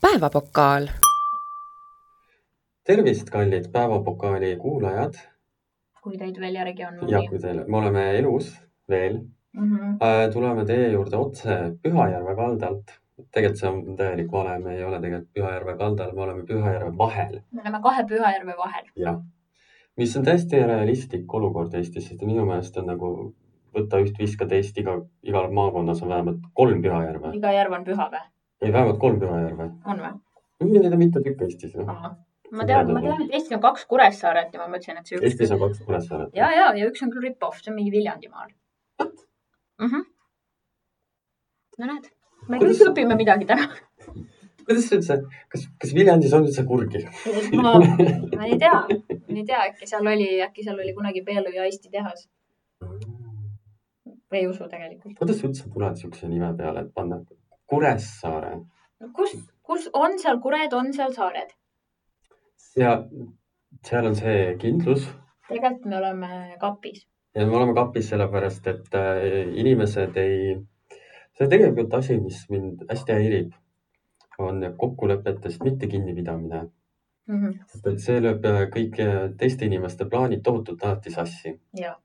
päevapokaal. tervist , kallid Päevapokaali kuulajad kui teid veel järgi on ja kui teil , me oleme elus veel , muidugi . tuleme teie juurde otse Pühajärve kaldalt . tegelikult see on täielik vale , me ei ole tegelikult Pühajärve kaldal , me oleme Pühajärve vahel , me oleme kahe Pühajärve vahel . jah . mis on täiesti realistlik olukord Eestis , sest minu meelest on nagu võtta üht , viska teist , iga , igal maakonnas on vähemalt kolm Pühajärve , iga järv on püha või ? ei vähemalt kolm Pühajärve . on või ? Neid on mitu tükki Eestis ju . Ah, ma tean , ma tean , et Eestis on kaks Kuressaaret ja ma mõtlesin , et see üks . Eestis on kaks Kuressaaret . ja , ja , ja üks on küll rip-off , see on mingi Viljandimaal mm . -hmm. no näed , me kõik Kuidas- õpime midagi täna . kuidas üldse , kas , kas Viljandis on üldse kurgi ? ma , ma ei tea , ma ei tea , äkki seal oli , äkki seal oli kunagi Peelu ja Eesti tehas . ei usu tegelikult . kuidas sa üldse tuled siukse nime peale , et panna Kuressaare kus , kus on seal kured , on seal saared ? ja seal on see kindlus tegelikult me oleme kapis . ja me oleme kapis sellepärast , et äh, inimesed ei , see on tegelikult asi , mis mind hästi häirib , on kokkulepetest mitte kinnipidamine , Mm -hmm. sest et see lööb äh, kõik äh, teiste inimeste plaanid tohutult alati sassi ja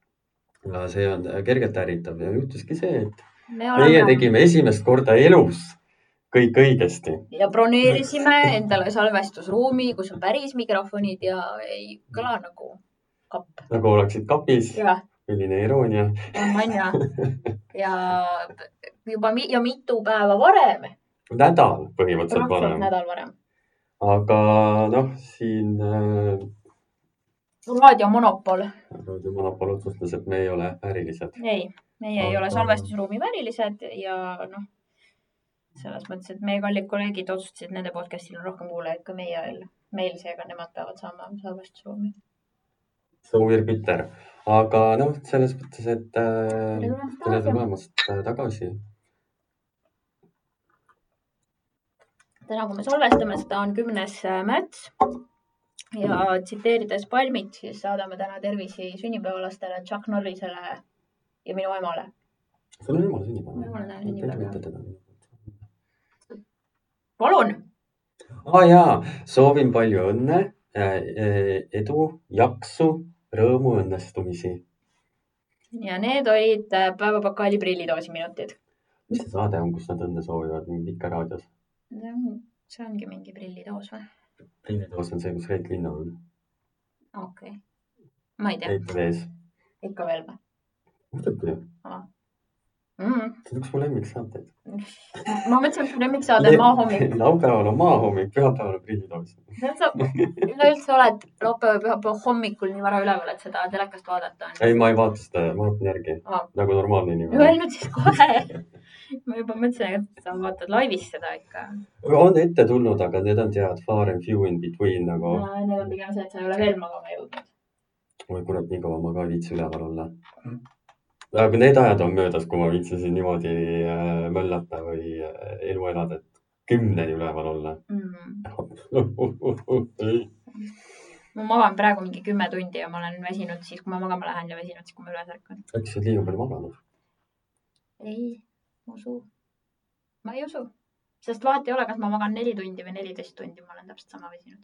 ja see on äh, kergelt ärritav ja juhtuski see , et me meie oleme tegime esimest korda elus kõik õigesti . ja broneerisime endale salvestusruumi , kus on päris mikrofonid ja ei kõla nagu kapp . nagu oleksid kapis , jah , milline iroonia . on ja , ja juba mi- ja mitu päeva varem , nädal põhimõtteliselt praktiliselt varem , nädal varem . aga noh , siin äh, raadiomonopol , raadiomonopol otsustas , et me ei ole ärilised . ei , meie ei ole salvestusruumi värilised ja noh , selles mõttes , et meie kallid kolleegid otsustasid , et nende podcast'il on rohkem kuulajaid kui meie veel , meil seega nemad peavad saama salvestusruumi . So we are bitter , aga noh , selles mõttes , et äh, Tere tulemast tere tagasi. tulemast äh, tagasi . täna , kui nagu me salvestame , seda on kümnes äh, märts ja tsiteerides Palmit , siis saadame täna tervisi sünnipäevalastele Chuck Norrisele ja minu emale . sul on ema Mul on ema sünnipäev sünnipäev, . palun , aa Ah, jaa , soovin palju õnne äh, , edu , jaksu , rõõmu , õnnestumisi . ja need olid äh, päevapakaali prillidoosi minutid . mis see saade on , kus nad õnne soovivad , mingi Vike raadios ? see ongi mingi prillidoos või ? teine taas on see , kus Reet Linna on , okei okay. . ma ei tea , Reet on ees . ikka veel või muidugi , mm. ? see on üks mu lemmiksaateid . ma mõtlesin , et su lemmiksaade on Maa hommik . laupäeval on maahommik , pühapäeval on prillidoos . sa üleüldse oled laupäeva , pühapäeva hommikul nii vara üleval , et seda telekast vaadata on ei , ma ei vaata seda , ma vaatan järgi Aa. nagu normaalne inimene . Öelnud siis kohe . ma juba mõtlesin , et sa vaatad laivis seda ikka . on ette tulnud , aga need on tead far and few in between nagu . Need on pigem see , et sa ei ole veel magama jõudnud . oi kurat , nii kaua ma ka ei viitsi üleval olla . aga need ajad on möödas , kui ma viitsisin niimoodi äh, möllata või äh, elu elada , et kümneni üleval olla . Mhm. Mm. ma magan praegu mingi kümme tundi ja ma olen väsinud siis , kui ma magama lähen ja väsinud siis , kui ma üles ärkan . äkki sa oled liiga palju maganud ? ei usu . ma ei usu , sest vahet ei ole , kas ma magan neli tundi või neliteist tundi , ma olen täpselt sama väsinud .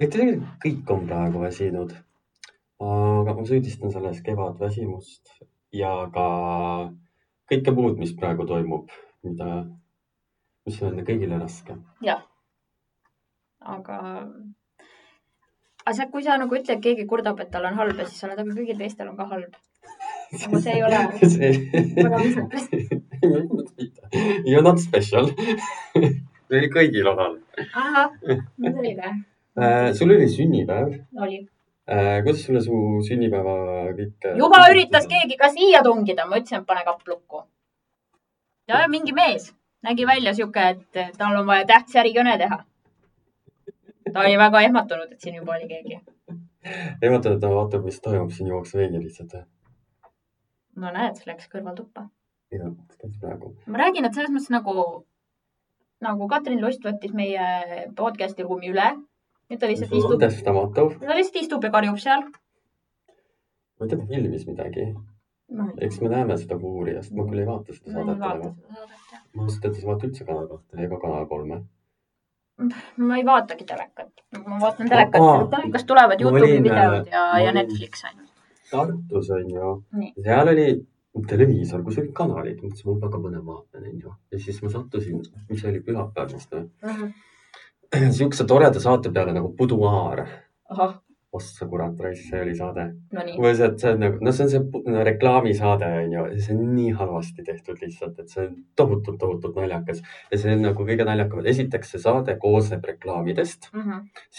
et tegelikult kõik on praegu väsinud . aga ma süüdistan selles kevadväsimust ja ka kõike muud , mis praegu toimub , mida , mis on kõigile raske . aga , aga sa , kui sa nagu ütled , keegi kurdab , et tal on halb ja siis sa oled , aga kõigil teistel on ka halb . aga see ei ole väga viisakas . You are not special . meil kõigil on all . ahah , selge . sul oli sünnipäev . oli . kuidas sulle su sünnipäeva kõik ? juba üritas . keegi ka siia tungida , ma ütlesin , et pane kapp lukku . ja mingi mees nägi välja sihuke , et tal on vaja tähtis ärikõne teha . ta oli väga ehmatunud , et siin juba oli keegi . ei vaata , ta vaatab , mis toimub siin , jookseb veidi lihtsalt . no näed , läks kõrvaltuppa . jah , käis praegu . ma räägin , et selles mõttes nagu , nagu Katrin Lust võttis meie podcast'i ruumi üle . nüüd ta lihtsalt istub , andestamatu . ta lihtsalt istub ja karjub seal . ma ei tea , ta filmis midagi . ma ei eks me näeme seda kui uurijast , ma küll ei vaata seda ma ei saadet vaata enam . seda saadet jah . ma ausalt öeldes ei vaata üldse Kanal kahte ega Kanal kolme . ma ei vaatagi telekat , ma vaatan telekat Aa. , telekas tulevad Ma Youtube'i olin, äh, videod ja ma , ja olin- Netflix ainult . Tartus on ju Nii. , seal oli televiisor , kus olid kanalid , mõtlesin , et ma väga põnev vaatan , onju . ja siis ma sattusin , mis see oli pühapäev vist või , siukse toreda saate peale nagu Puduaar . ahah , ossa kurat raisk , see oli saade . no nii , või see , et see on nagu , noh , see on see pu- no, reklaamisaade onju , see on nii halvasti tehtud lihtsalt , et see on tohutult , tohutult naljakas ja see on nagu kõige naljakam , et esiteks see saade koosneb reklaamidest ,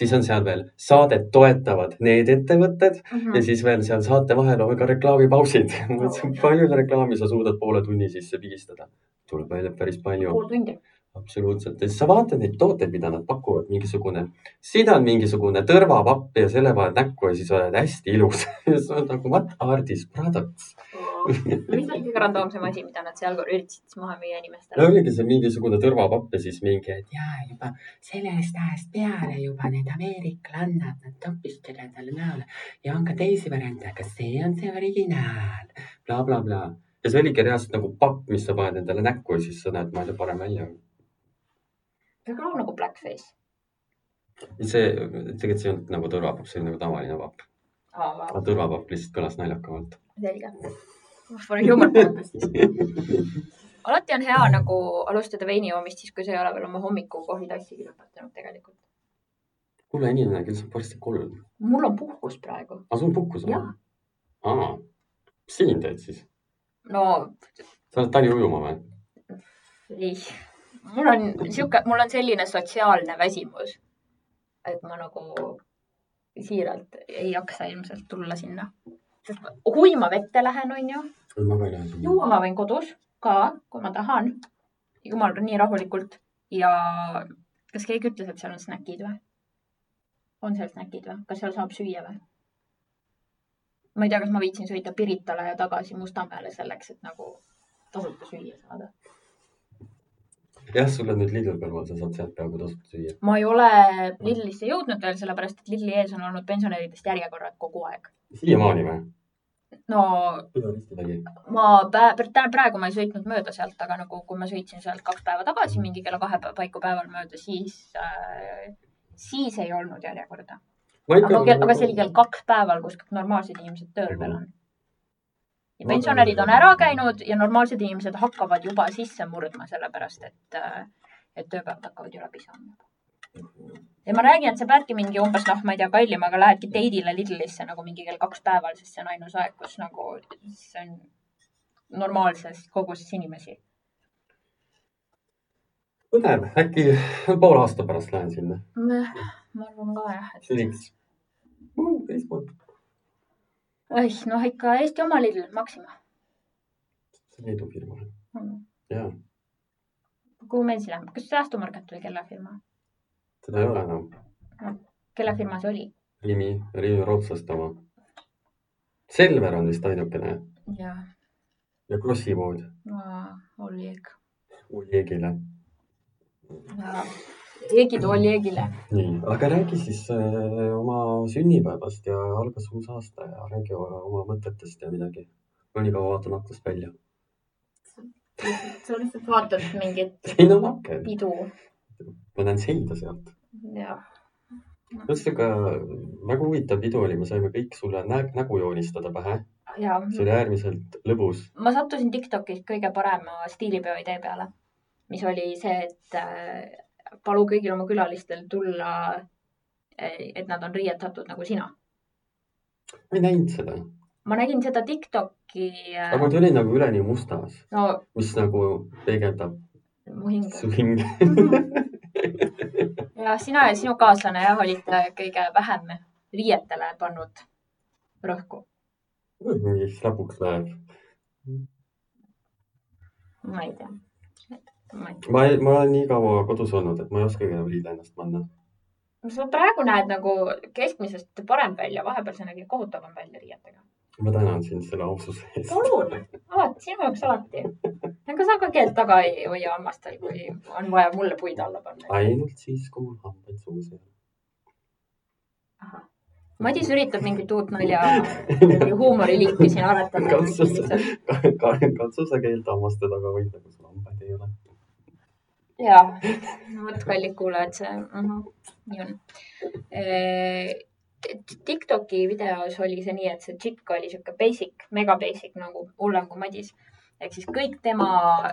siis on seal veel saadet toetavad need ettevõtted , ja Hmm. siis veel seal saate vahel on ka reklaamipausid . palju reklaami sa suudad poole tunni sisse pigistada ? tuleb välja et päris palju , pool tundi . absoluutselt . ja siis sa vaatad neid tooteid , mida nad pakuvad , mingisugune , siin on mingisugune tõrvapapp ja selle paned näkku ja siis oled hästi ilus . ja siis on nagu what are these products ? mis oli kõige randoomsem asi , mida nad seal korra üritasid siis maha müüa inimestele no ? oligi see mingisugune tõrvapapp ja siis mingi , et jaa , juba sellest ajast peale juba need ameeriklannad , nad toppisid selle endale näole ja on ka teisi variante , aga see on see originaal bla, , blablabla . ja see oligi reaalselt nagu papp , mis sa paned endale näkku ja siis sa näed maailma parem välja . see kõlab nagu blackface . see , tegelikult see ei olnud nagu tõrvapapp , see oli nagu tavaline papp , aa , aga tõrvapapp lihtsalt kõlas naljakamalt . selge . For human purposes . alati on hea nagu alustada veini joomist siis , kui sa ei ole veel oma hommiku kohvitassigi lõpetanud tegelikult . kuule , inimene küll saab varsti kolm . mul on puhkus praegu . aga sul on puhkus Jah. ? aa , mis sa siin teed siis ? no sa lähed Tali ujuma või ? ei , mul on sihuke , mul on selline sotsiaalne väsimus , et ma nagu siiralt ei jaksa ilmselt tulla sinna . sest ma- kui ma vette lähen , onju , ma ka ei lähe sinna . juua ma võin kodus ka , kui ma tahan . jumal , nii rahulikult ja kas keegi ütles , et seal on snäkid või ? on seal snäkid või , kas seal saab süüa või ? ma ei tea , kas ma viitsin sõita Piritale ja tagasi Mustamäele selleks , et nagu tasuta süüa saada . jah , sul on nüüd Lidl kõrval , sa saad sealt peaaegu tasuta süüa . ma ei ole Lillisse jõudnud veel , sellepärast et Lilli ees on olnud pensionäridest järjekorrad kogu aeg . siiamaani või ? no üle risti tegi . ma pä- prä- praegu ma ei sõitnud mööda sealt , aga nagu kui ma sõitsin sealt kaks päeva tagasi mingi kella kahe pä- paiku päeval mööda , siis äh, , siis ei olnud järjekorda . aga , aga see oli kell . kaks päeval , kus kõik normaalsed inimesed tööl veel on . ja pensionärid on ära käinud ja normaalsed inimesed hakkavad juba sisse murdma , sellepärast et , et tööpäevad hakkavad ju läbi saama . ja ma räägin , et sa peadki mingi umbes noh , ma ei tea , kallim , aga lähedki teidile Lidlisse nagu mingi kell kaks päeval , sest see on ainus aeg , kus nagu see on normaalses koguses inimesi . põnev , äkki poole aasta pärast lähen sinna . ma arvan ka jah , et seniks . see Oih, noh , ikka Eesti oma Lidl , Maxima . on Leedu firma . jaa , kuhu meil siis läheb , kas säästumarket oli kelle firma , seda ei ole enam . kelle firma see oli ? nimi , nimi Rootslast oma . Selver on vist ainukene jah , ja Krossi pood Oleg . Olegile . Egid Olegile . nii , aga räägi siis äh, oma sünnipäevast ja algas uus aasta ja räägi oma oma mõtetest ja midagi . ma nii kaua vaatan aknast välja . sa lihtsalt vaatad mingit siin on aken . pidu . ma näen seina sealt . jah , ühesõnaga väga huvitav pidu oli , me saime kõik sulle nä nägu joonistada pähe , ja see oli äärmiselt lõbus . ma sattusin Tiktokis kõige parema stiilipeo idee peale , mis oli see , et äh, palu kõigil oma külalistel tulla , et nad on riietatud nagu sina . ma ei näinud seda , ma nägin seda Tiktoki , aga nad olid nagu üleni mustas , no mis nagu peegeldab mu hinge . su hinge . ja sina ja sinu kaaslane jah , olite kõige vähem riietele pannud rõhku . mis lõpuks läheb . ma ei tea . ma ei tea . ma , ma olen nii kaua kodus olnud , et ma ei oskagi enam riide ennast panna . sa praegu näed nagu keskmisest parem välja , vahepeal sa nägid kohutavam välja riietega . ma tänan sind selle aususe eest . palun , alati , sinu jaoks alati . ega sa ka keelt taga ei hoia hammastel , kui on vaja mulle puid alla panna . ainult siis , kui mul hambad suus ei Madis üritab mingit uut nalja , huumoriliiki siin aretada . ole . katsu sa keelt hammaste taga hoida , kui sul hambad ei ole . jaa , no vot , kallid kuulajad , see uh , -huh. nii on . Tiktoki videos oli see nii , et see tšikk oli sihuke basic , mega basic nagu , hullem kui Madis . ehk siis kõik tema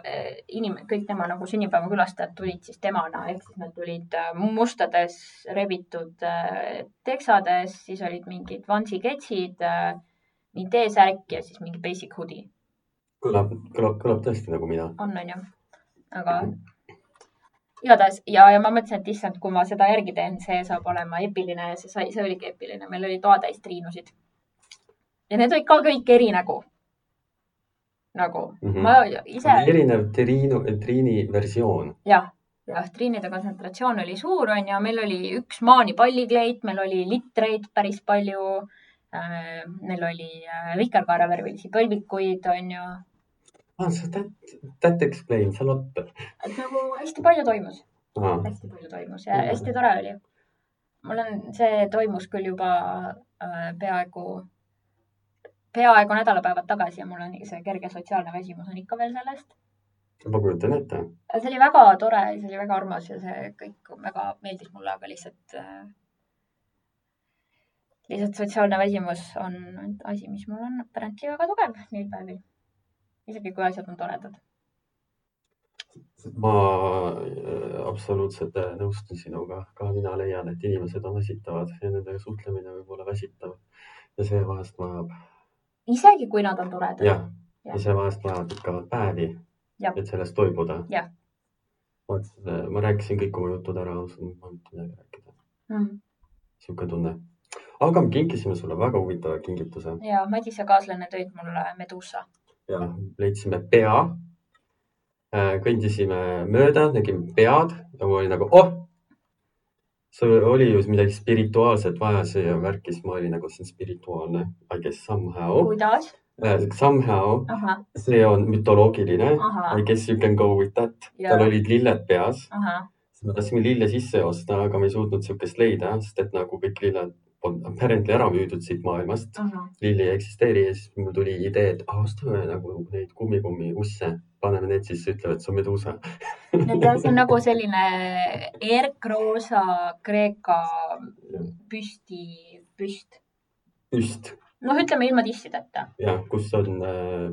eh, inim- , kõik tema nagu sünnipäevakülastajad tulid siis temana , ehk siis nad tulid eh, mustades rebitud eh, teksades , siis olid mingid vansiketsid , nii T-särk ja siis mingi basic hoodie kõlab , kõlab , kõlab tõesti nagu mina . on , onju . aga igatahes ja , ja ma mõtlesin , et issand , kui ma seda järgi teen , see saab olema epiline ja see sai , see oligi epiline , meil oli toatäis triinusid . ja need olid ka kõik erinägu . nagu Mm -hmm. ma ise , erinev Triinu , Triini versioon . jah , jah , triinide kontsentratsioon oli suur , onju , meil oli üks maani pallikleit , meil oli litreid päris palju . meil oli äh, vikerkaarevärvilisi põlvikuid , onju , ah, . That , that explains a lot et nagu hästi palju toimus . ah. . hästi palju toimus ja hästi tore oli . mul on , see toimus küll juba äh, peaaegu , peaaegu nädalapäevad tagasi ja mul on see kerge sotsiaalne väsimus on ikka veel sellest . ma kujutan ette . see oli väga tore , see oli väga armas ja see kõik väga meeldis mulle , aga lihtsalt äh, , lihtsalt sotsiaalne väsimus on asi , mis mul on apparently väga tugev neil päevil . isegi kui asjad on toredad . ma äh, absoluutselt äh, nõustun sinuga , ka mina leian , et inimesed on väsitavad ja nendega suhtlemine võib olla väsitav . ja see vahest vajab , isegi kui nad on toredad . jah , ja see vahest vajab ikka päevi , Jah. et sellest toibuda . Jah. vot , ma rääkisin kõik oma jutud ära , ausalt , ma ei olnud midagi rääkida . Mm. niisugune tunne . aga me kinkisime sulle väga huvitava kingituse ja Madise kaaslane tõid mulle Medusa . ja leidsime pea . kõndisime mööda , nägime pead ja ma olin nagu , oh , sul oli ju midagi spirituaalset vaja , see värk ja siis ma olin nagu , see on spirituaalne , I guess somehow , kuidas ? somehow ahah , see on mütoloogiline , Ahah. I guess you can go with that . Jaa. tal olid lilled peas , ahah , siis me tahtsime lille sisse osta , aga me ei suutnud niisugust leida , sest et nagu kõik lilled on apparently ära müüdud siit maailmast . ahah . lilli ei eksisteeri ja siis mul tuli idee , et ah, ostame nagu neid kummikummi usse , paneme need sisse , ütlevad , et see on meduusa . see on nagu selline erkroosa Kreeka püsti , püst . just noh , ütleme ilma tissideta , ja kus on äh,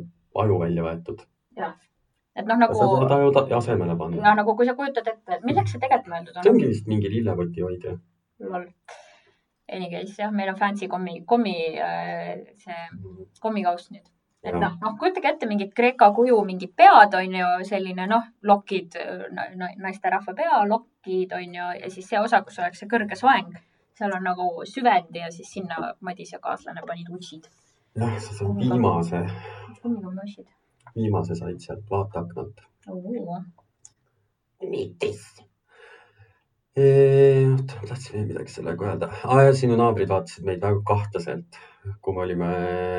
aju välja võetud . et noh , sa saad nagu aju ta- asemele panna . ja nagu , kui sa kujutad ette , et milleks see tegelikult mõeldud see on . ongi vist mingi lillekoti hoidja . lol . Any case jah , meil on fancy kommi , kommi äh, see kommikauss nüüd . et Jah. noh , noh kujutage ette mingit Kreeka kuju , mingid pead on ju selline noh , lokid no, , no, naisterahva pea , lokid on ju ja siis see osa , kus oleks see kõrge soeng , seal on nagu süvend ja siis sinna Madis ja kaaslane panid ussid . jah , sa saad viimase , kummikummi ussid . viimase said sealt vaateaknalt . mitis ? oota , ma tahtsin veel midagi sellega öelda ah, . sinu naabrid vaatasid meid väga kahtlaselt , kui me olime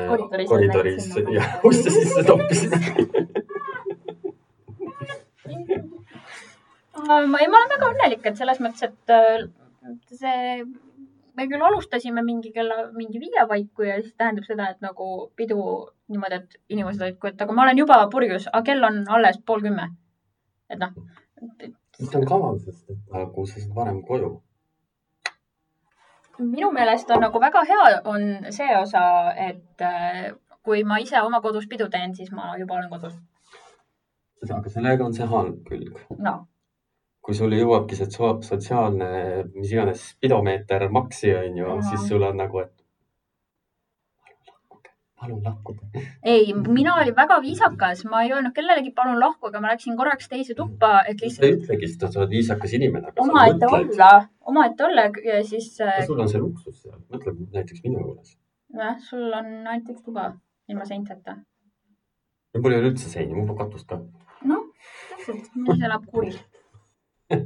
Koridoris koridoris näitasin ja nagu- uste sisse toppisime . ma ei , ma olen väga õnnelik , et selles mõttes , et äh, see , me küll alustasime mingi kella , mingi viie paiku ja siis tähendab seda , et nagu pidu niimoodi , et inimesed olid , et aga ma olen juba purjus , aga kell on alles pool kümme . et noh , mis on kaval , sest et nagu sa saad varem koju . minu meelest on nagu väga hea , on see osa , et äh, kui ma ise oma kodus pidu teen , siis ma juba olen kodus . aga sellega on see halb külg . noh , kui sul jõuabki see so- sotsiaalne , mis iganes , spidomeeter maksi on ju Jaa. , siis sul on nagu , et palun lahkuge , palun lahkuge . ei , mina olin väga viisakas , ma ei öelnud kellelegi , palun lahkuge , ma läksin korraks teise tuppa , et sa ei lihtsalt ütlegi seda , sa oled viisakas inimene , aga sa omaette mõtled , olla , omaette olla ja siis äh, sul on see luksus seal , mõtle näiteks minu juures . nojah , sul on ainult üks tuba ilma seinteta . mul ei ole üldse seini , mul pole katust ka . noh , täpselt , mees elab kuril .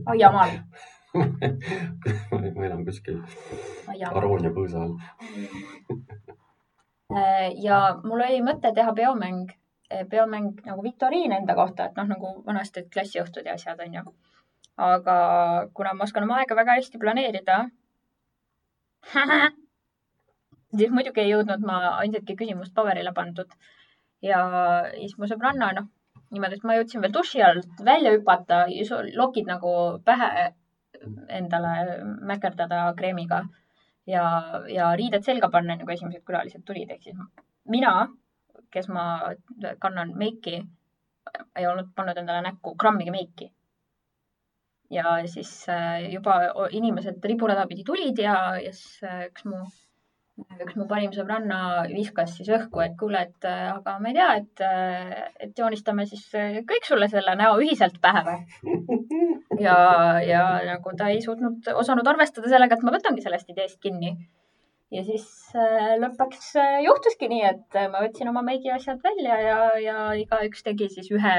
aiamaal , ma elan kuskil aiamaal . Aroonia põõsa all . Äh, ja mul oli mõte teha peomäng , peomäng nagu viktoriin enda kohta , et noh , nagu vanasti olid klassiõhtud ja asjad onju . aga kuna ma oskan oma aega väga hästi planeerida , siis muidugi ei jõudnud ma ainsatki küsimust paberile pandud ja siis mu sõbranna , noh , niimoodi , et ma jõudsin veel duši alt välja hüpata , lokid nagu pähe endale mäkerdada kreemiga ja , ja riided selga panna , enne kui esimesed külalised tulid , ehk siis mina , kes ma kannan meiki , ei olnud pannud endale näkku grammigi meiki . ja siis äh, juba o- inimesed riburadapidi tulid ja , ja siis äh, üks mu üks mu parim sõbranna viskas siis õhku , et kuule , et äh, aga ma ei tea , et , et joonistame siis äh, kõik sulle selle näo ühiselt pähe või . ja , ja nagu ta ei suutnud , osanud arvestada sellega , et ma võtangi sellest ideest kinni . ja siis äh, lõpuks äh, juhtuski nii , et äh, ma võtsin oma meigi asjad välja ja , ja igaüks tegi siis ühe ,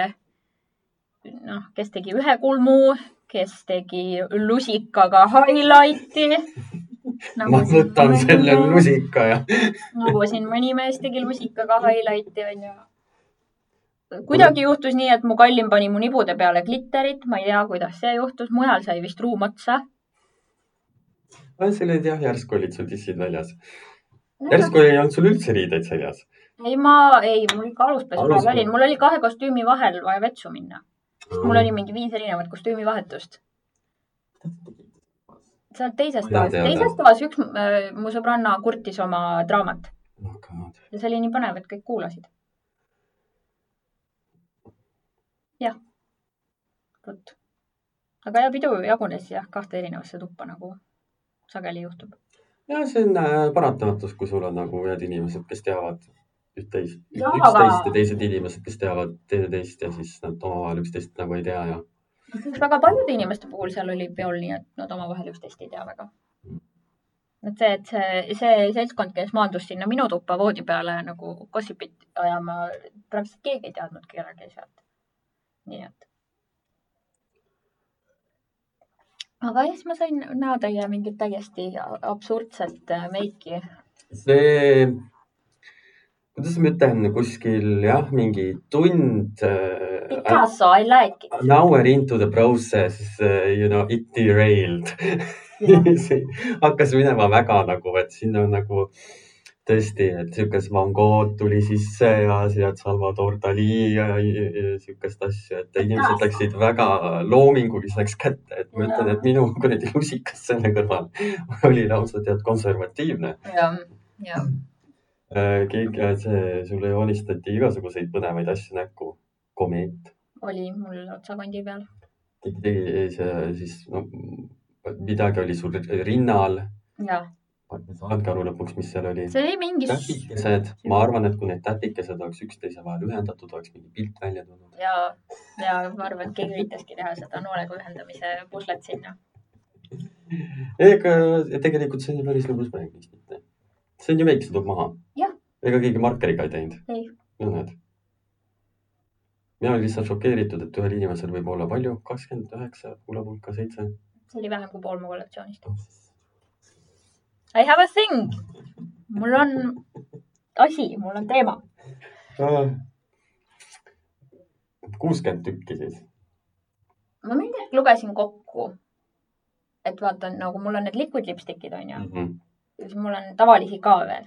noh , kes tegi ühe kulmu , kes tegi lusikaga highlight'i . ma võtan selle . lusika ja nagu siin mõni mees tegi lusikaga highlight'i onju . kuidagi juhtus nii , et mu kallim pani mu nibude peale glitterit , ma ei tea , kuidas see juhtus , mujal sai vist ruum otsa . Ah, see oli jah , järsku olid sul tissid väljas . järsku ei olnud sul üldse riideid seljas . ei , ma , ei , mul ikka aluspesu Aluspesu. peal olin , mul oli kahe kostüümi vahel vaja vetsu minna . mul oli mingi viis erinevat kostüümivahetust . seal teises Mina toas , tean, jah. teises toas üks äh, mu sõbranna kurtis oma draamat noh, ja see oli nii põnev , et kõik kuulasid . jah , vot . aga ja pidu jagunes jah kahte erinevasse tuppa , nagu sageli juhtub . ja see on äh, paratamatus , kui sul on nagu head inimesed , kes teavad üht-teist , Jaa, üksteist aga- ja teised inimesed , kes teavad teineteist ja siis nad omavahel üksteist nagu ei tea ja . eks väga paljude inimeste puhul seal oli peol nii , et nad omavahel üksteist ei tea väga . et see , et see , see seltskond , kes maandus sinna minu tuppa voodi peale nagu gossipit ajama , praktiliselt keegi ei teadnud kedagi sealt . nii et . aga siis ma sain näotäie mingit täiesti absurdset äh, meiki . see , kuidas ma ütlen , kuskil jah , mingi tund äh, . Picasso , I like it . An hour into the process uh, , you know , it derailed . See hakkas minema väga nagu , et sinna on nagu tõesti , et siukest Van Gogh tuli sisse ja sealt Salvador Dali ja, ja, ja siukest asja , et inimesed läksid väga loominguliseks kätte , et ma ütlen , et minu kuradi lusikas selle kõrval oli lausa tead konservatiivne . jah , jah . keegi , see , sulle joonistati igasuguseid põnevaid asju näkku , komeet . oli mul otsakandi peal . tegi , tegi see siis , no midagi oli sul rinnal . jah , ma ei saanudki aru lõpuks , mis seal oli . see oli mingi . tätikesed , ma arvan , et kui need tätikesed oleks üksteise vahel ühendatud , oleks mingi pilt välja tulnud . ja , ja ma arvan , et keegi üritaski teha seda noolega ühendamise puslet sinna . ega tegelikult see oli päris lõbus mäng , miks mitte . see on ju väikse tuleb maha Jah. . ega keegi markeriga ei teinud . Ei. no näed . mina olin lihtsalt šokeeritud , et ühel inimesel võib olla palju , kakskümmend üheksa , kuulapulka seitse . Noh, see oli vähem kui pool mu kollektsioonist . I have a thing . mul on asi , mul on teema . äh, kuuskümmend tükki siis . ma mingi hetk lugesin kokku , et vaata nagu mul on need liquid lipstick'id onju , Mhm. siis mul on tavalisi ka veel ,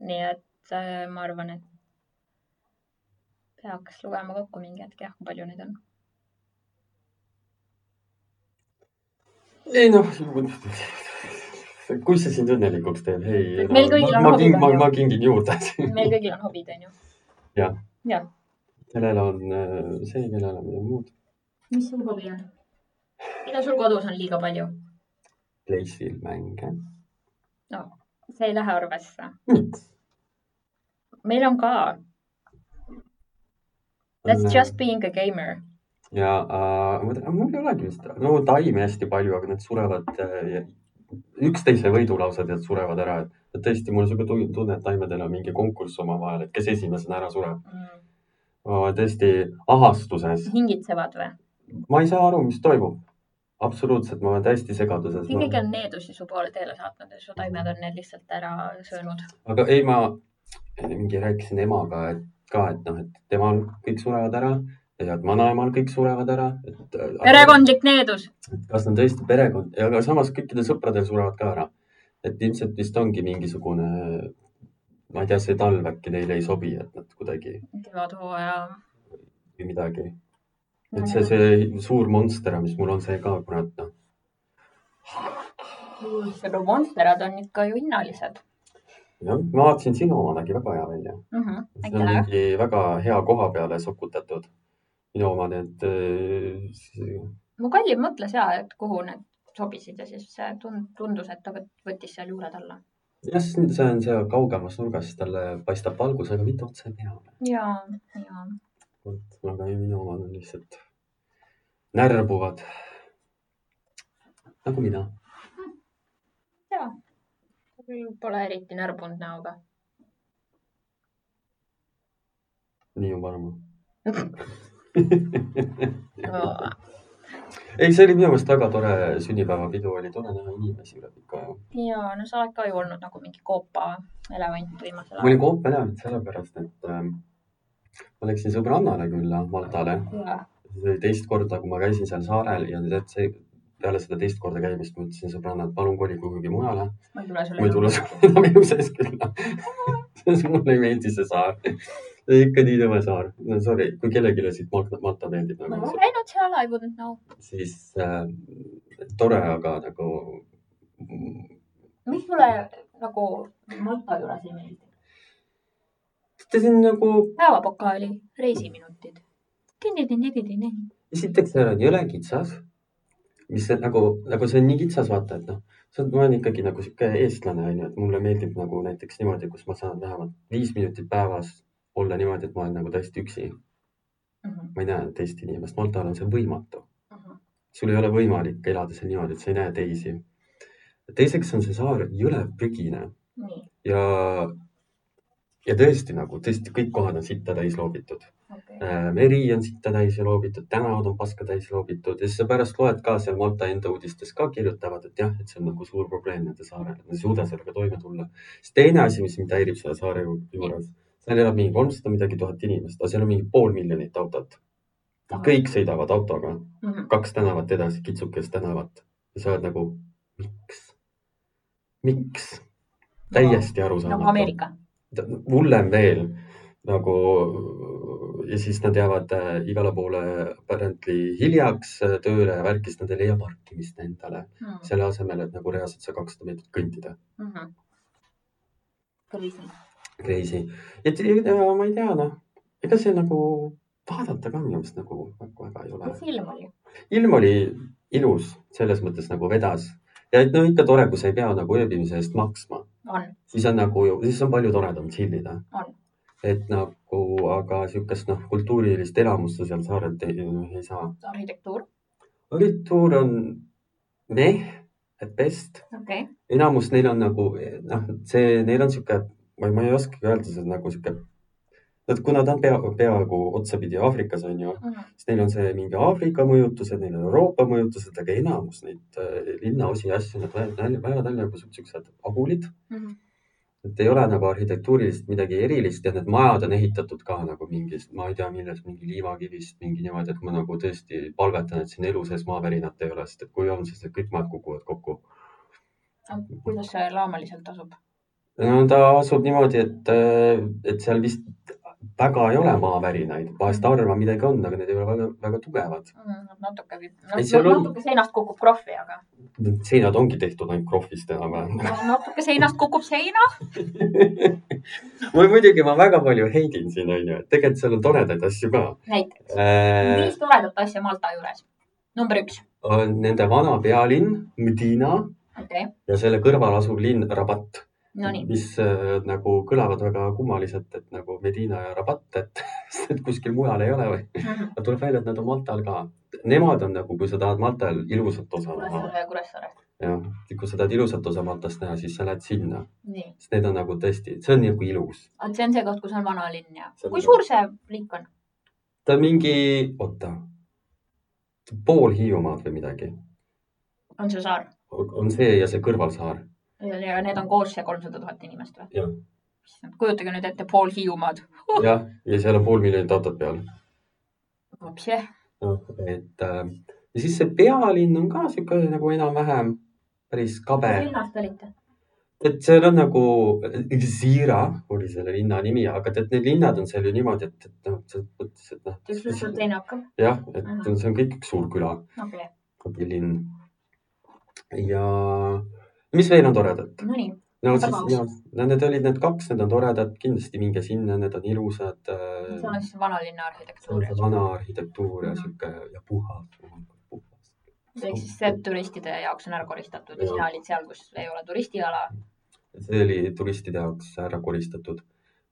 nii et äh, ma arvan , et peaks lugema kokku mingi hetk jah , kui palju neid on . ei noh , kui see sind õnnelikuks teeb , ei . Meil kõigil on ma, hobid, ma, on ju. ma kingin juurde . meil kõigil on hobid onju . kellel on äh, see , kellel on midagi muud . mis sul hobi on ? mida sul kodus on liiga palju ? Playsil mänge . see ei lähe arvesse . miks ? meil on ka . That's just being a gamer . ja äh, ma- mul ei olegi vist , no taimi hästi palju , aga need surevad äh, , üksteise võidulaused , need surevad ära , et tõesti , mul on siuke tu- tunne , et taimedel on mingi konkurss omavahel , et kes esimesena ära sureb . ma olen tõesti ahastuses , hingitsevad või ? ma ei saa aru , mis toimub . absoluutselt , ma olen täiesti segaduses . keegi on needusi su poole teele saatnud ja su taimed on need lihtsalt ära söönud . aga ei , ma mingi rääkisin emaga , et ka , et noh , et temal kõik surevad ära ja et vanaemal kõik surevad ära . perekondlik needus . kas on tõesti perekond , aga samas kõikidel sõpradel surevad ka ära . et ilmselt vist ongi mingisugune , ma ei tea , see talv äkki neile ei sobi , et nad kuidagi kevadhooaja või midagi . et see , see suur monster , mis mul on , see ka kurat noh , no monsterad on ikka ju hinnalised jah , ma vaatasin sinu oma nägi väga hea välja . mm . -hmm. see on mingi väga hea koha peale sokutatud . minu oma need äh, mu kallim mõtles ja , et kuhu need sobisid ja siis see tund- , tundus , et ta võt- võttis seal juured alla . jah , see on seal kaugemas nurgas , talle paistab valgus , aga mitte otse peale . ja , ja vot , aga ei , minu omad on lihtsalt närbuvad . nagu mina . küll pole eriti närbunud näoga . nii on varma . Nagu- ei , see oli minu meelest väga tore sünnipäevapidu , oli tore näha inimesi üle pika aja . ja no sa oled ka ju olnud nagu mingi koopaelevant viimasel ma olin koopeläevik sellepärast , et ähm, ma läksin sõbrannale külla Maltale . ajal . see oli teist korda , kui ma käisin seal saarel ja tead see , peale seda teist korda käimist ma ütlesin sõbrannale , et palun kolige kuhugi mujale . ma ei tule ma sulle ei . tule sulle enam elu sees külla . mulle ei meeldi see saar . see on ikka nii tõme saar . no sorry , kui kellelegi siit Malta , Malta meeldib ma nagu olen , käinud seal , I wouldn't know . siis äh, tore , aga nagu mis sulle nagu Malta juures ei meeldi ? ta siin nagu , päevapokaali reisiminutid . tinni-tinni-tinni-tinni . esiteks seal on jõle kitsas , mis see, nagu , nagu see on nii kitsas , vaata , et noh , see on , ma olen ikkagi nagu sihuke eestlane onju , et mulle meeldib nagu näiteks niimoodi , kus ma saan vähemalt viis minutit päevas olla niimoodi , et ma olen nagu täiesti üksi . ma ei näe teist inimest , Maltal on see võimatu . Mhm. sul ei ole võimalik elada seal niimoodi , et sa ei näe teisi . teiseks on see saar jõle prügine nii , ja , ja tõesti nagu tõesti kõik kohad on sitta täis loobitud . okei . meri on sitta täis ja loobitud , tänavad on paska täis loobitud ja siis sa pärast loed ka seal Malta enda uudistes ka kirjutavad , et jah , et see on nagu suur probleem nende saarel , et nad ei suuda sellega toime tulla . siis teine asi , mis mind häirib selle saare ju- juures , seal elab mingi kolmsada midagi tuhat inimest , aga seal on mingi pool miljonit autot . kõik sõidavad autoga Mhm. kaks tänavat edasi , kitsukest tänavat ja sa oled nagu , miks , miks ? täiesti nagu arusaamatu no, . Ameerika . hullem veel nagu ja siis nad jäävad äh, igale poole apparently hiljaks äh, tööle ja värkis , nad ei leia parkimist endale , Mhm. selle asemel , et nagu reaalselt sa kakssada meetrit kõndida . kriisi . Crazy , et ja ma ei tea , noh , ega see nagu vaadata ka minu meelest nagu väga väga ei ole . mis ilm oli ? ilm oli ilus , selles mõttes nagu vedas ja et no ikka tore , kui sa ei pea nagu ööbimise eest maksma , on , siis on nagu , siis on palju toredam chill ida . on . et nagu , aga niisugust noh , kultuurilist elamust sa seal saarelt ei, noh, ei saa . arhitektuur . arhitektuur on meh , et best , okei okay. . enamus neil on nagu noh , see , neil on niisugune , ma ei , ma ei oskagi öelda , see on nagu niisugune , et kuna ta on pea , peaaegu otsapidi Aafrikas on ju , Mhm. siis neil on see mingi Aafrika mõjutused , neil on Euroopa mõjutused , aga enamus neid äh, linnaosi ja asju , nad näevad välja , näevad välja kui siuksed agulid , Mhm. et ei ole nagu arhitektuuriliselt midagi erilist ja need majad on ehitatud ka nagu mingist , ma ei tea , millest , mingi liivakivist , mingi niimoodi , et ma nagu tõesti palvetan , et siin elu sees maavärinat ei ole , sest et kui on , siis need kõik maad kukuvad kokku . kuidas see laamaliselt asub ? no ta asub niimoodi , et , et seal vist väga ei ole maavärinaid , vahest harva midagi on , aga need ei ole väga , väga tugevad . Mm, noh, natuke , Ei, seal on- natuke seinast kukub krohvi , aga noh, Need seinad ongi tehtud ainult krohvist enam-vähem . natuke seinast kukub seina . mul muidugi , ma väga palju heidin siin onju , et tegelikult seal on toredaid asju ka . Äh, näiteks , viis toredat asja Malta juures . number üks , on nende vana pealinn Medina okei okay. , ja selle kõrval asuv linn Rabat , nonii , mis äh, nagu kõlavad väga kummaliselt , et nagu Medina ja Rabat , et sest et kuskil mujal ei ole või . aga tuleb välja , et nad on Maltal ka . Nemad on nagu , kui sa tahad Maltal ilusat osa näha , Kuressaare ja Kuressaare . jah , kui sa tahad ilusat osa Maltast näha , siis sa lähed sinna , nii , sest need on nagu tõesti , see on nagu ilus . aga see on see koht , kus on vanalinn ja See on kui ka- suur see riik on ? ta on mingi , oota , pool Hiiumaad või midagi on see saar on see ja see kõrvalsaar . ja ja need on koos see kolmsada tuhat inimest või ? jah , kujutage nüüd ette pool Hiiumaad . jah , ja seal on pool miljonit autot peal . hoopis jah , et äh, ja siis see pealinn on ka sihuke nagu enam-vähem päris kabe . linnast olite ? et seal on nagu Zira oli selle linna nimi , aga tead need linnad on seal ju niimoodi , et , et noh , selles mõttes , et noh , ükskord sul teine hakkab . jah , et see on kõik üks suur küla okei , või linn . ja mis veel on toredat ? nonii . no siis Samas. jah , no need olid need kaks , need on toredad , kindlasti minge sinna , need on ilusad see on äh, . siis vanalinna arhitektuur . vana arhitektuur ja Mhm. sihuke ja puhas , puhas . ehk siis see turistide jaoks on ära koristatud ja Jah. sina olid seal , kus ei ole turistiala . see oli turistide jaoks ära koristatud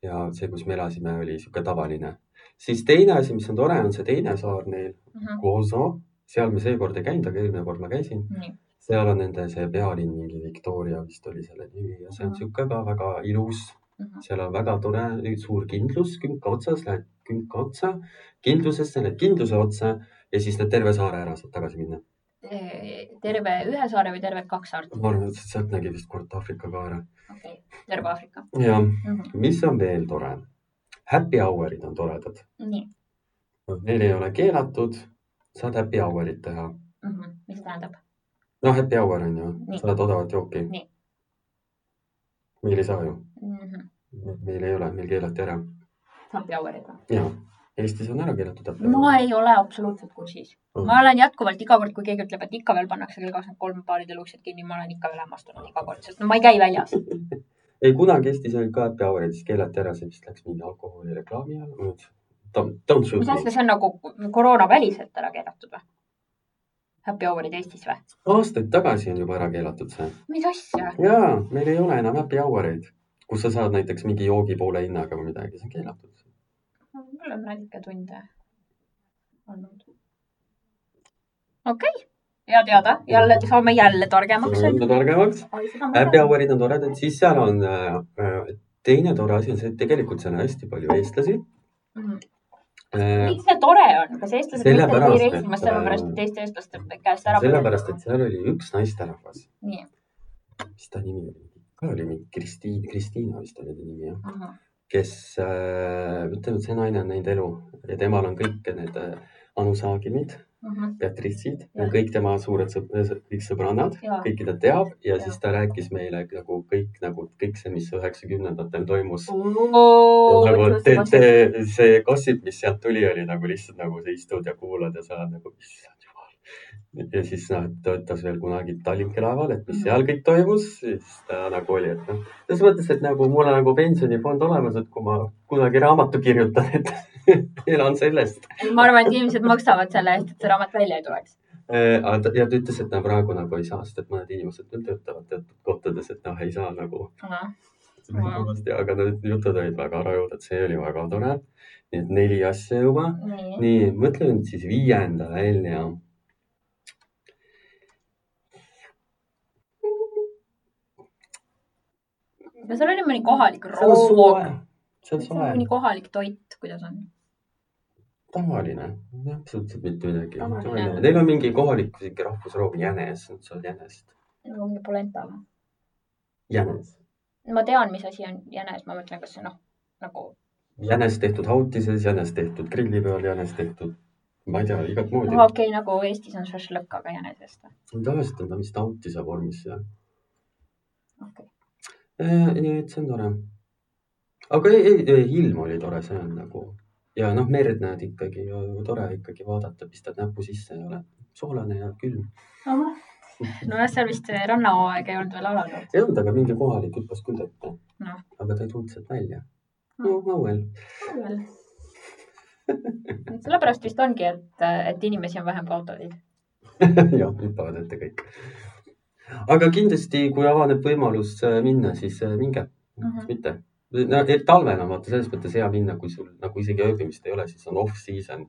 ja see , kus me elasime , oli sihuke tavaline . siis teine asi , mis on tore , on see teine saar neil , Kozo , seal me seekord ei käinud , aga eelmine kord ma käisin . nii , seal on nende see pealinn , mingi Victoria vist oli selle nimi ja see on Mhm. sihuke ka väga ilus seal on väga tore suur kindlus künka otsas , lähed künka otsa , kindlusesse , lähed kindluse otsa ja siis lähed terve saare ära , saad tagasi minna . terve ühe saare või terved kaks saart ? ma arvan , et sealt nägi vist kord Aafrika ka ära . okei , terve Aafrika . Mhm. ja mis on veel tore ? Happy hour'id on toredad , nii , need ei ole keelatud , saad happy hour'id teha . Mhm. mis see tähendab ? noh , happy hour on ju , Nii. saad odavat jooki Nii. . meil ei saa ju , Mhm. meil ei ole , meil keelati ära . happy hour'id või ? ja Eestis on ära keelatud happy Oh. ma ei ole absoluutselt kursis . hour . ma olen jätkuvalt iga kord , kui keegi ütleb , et ikka veel pannakse kell kakskümmend kolm baaridel uksed kinni , ma olen ikka veel hämmastunud iga kord , sest no ma ei käi väljas . ei , kunagi Eestis olid ka happy hour'id , siis keelati ära , see vist läks mingi alkoholireklaami alla . Don't , don't shoot mis me . asja , see on nagu koroonaväliselt ära keelatud või ? Happy hour'id Eestis või ? aastaid tagasi on juba ära keelatud see . mis asja ? jaa , meil ei ole enam happy hour eid , kus sa saad näiteks mingi joogi poole hinnaga või midagi , see on keelatud . mul on nalika tunde olnud . okei okay. , hea teada , jälle saame jälle targemaks . mõelda targemaks . Happy hour'id on toredad , siis seal on äh, äh, teine tore asi on see , et tegelikult seal on hästi palju eestlasi äh, . Mhm. miks see tore on , kas eestlased teistele ei Sellepärast, reisi et, äh, vast sellepärast , et teiste eestlaste käest ära sellepärast , et seal oli üks naisterahvas , nii , mis ta nimi oli , ka oli mingi Kristiin , Kristiina vist oli ta nimi jah . Mhm. kes äh, , ütleme , et see naine on näinud elu ja temal on kõik need äh, Anu Saagimid , Mhm. Beatrice'id , Jah. kõik tema suured sõbrad , kõik sõbrannad , Jaa. kõiki ta teab ja, ja Jah. siis ta rääkis meile nagu kõik nagu kõik see , mis üheksakümnendatel toimus . nagu te, te, ahah . see gossip , mis sealt tuli , oli nagu lihtsalt nagu sa istud ja kuulad ja saad nagu , issand jumal . ja siis noh , töötas veel kunagi Tallinki laeval , et mis seal kõik toimus , siis ta nagu oli , et noh , selles mõttes , et nagu mul on nagu pensionifond olemas , et kui ma kunagi raamatu kirjutan , et elan sellest . ma arvan , et inimesed maksavad selle eest , et see raamat välja ei tuleks . ja Äh, ta ütles , et ta praegu nagu ei saa , sest et mõned inimesed veel töötavad teatud kohtades , et noh , ei saa nagu Wow. kõvasti , Nagu aga need jutud olid väga rajud , et see oli väga tore . nii et neli asja juba . nii , nii , mõtle nüüd siis viienda välja . no seal oli mõni kohalik see on roog soe , see on seal on soe mõni , kohalik toit , kuidas on ? tavaline , absoluutselt mitte midagi Tavaline. . Neil on mingi kohalik sihuke rahvusroog jänes , nad seal jänest , nagu mingi polenta või ? jänes , ma tean , mis asi on jänes , ma mõtlen , kas see noh , nagu jänes tehtud hautises , jänes tehtud grilli peal , jänes tehtud , ma ei tea , igat moodi okei . okay, , nagu Eestis on šašlõkk , aga jänesest või ? tavaliselt on ta vist hautise vormis ja noh, okei okay. , nii et see on tore . aga ei, ei, ei, ilm oli tore , see on nagu ja noh , merd näed ikkagi , tore ikkagi vaadata , pistad näpu sisse ja oled soolane ja külm . nojah , seal vist see rannahooaeg ei olnud veel alanud . ei olnud , aga mingi kohalik hüppas küll tõttu Noh. . aga ta ei tulnud sealt välja . no No. , no veel . sellepärast vist ongi , et , et inimesi on vähem kui autosid . jah , hüppavad ette kõik . aga kindlasti , kui avaneb võimalus äh, minna , siis äh, minge mm , Mhm. -hmm. mitte . no et talvel on vaata selles mõttes hea minna , kui sul nagu isegi ööbimist ei ole , siis on off-season ,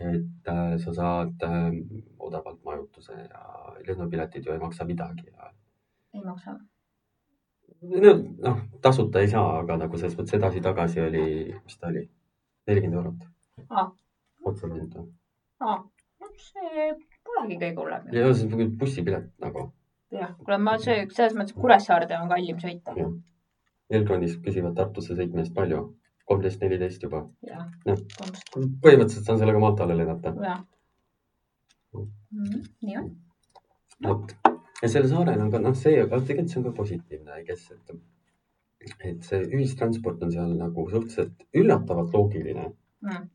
et äh, sa saad äh, odavalt majutuse ja lennupiletid ju ei maksa midagi ja ei maksa . no, noh , tasuta ei saa , aga nagu selles mõttes edasi-tagasi oli , mis ta oli , nelikümmend eurot Aa. . otselend või ? aa , Ah, see polegi kõige hullem . ja see on nagu bussipilet nagu . jah , kuule , ma see , selles mõttes Kuressaarde on kallim sõita . Jah. Elronis küsivad Tartusse sõitmise eest palju , kolmteist , neliteist juba . jah , Jah. komps , põhimõtteliselt saan sellega Maltale lennata . jah . nii Mhm. on . vot , ja sellel saarel on ka noh, see aga tegelikult see on ka positiivne , I guess , et , et see ühistransport on seal nagu suhteliselt üllatavalt loogiline . mm. .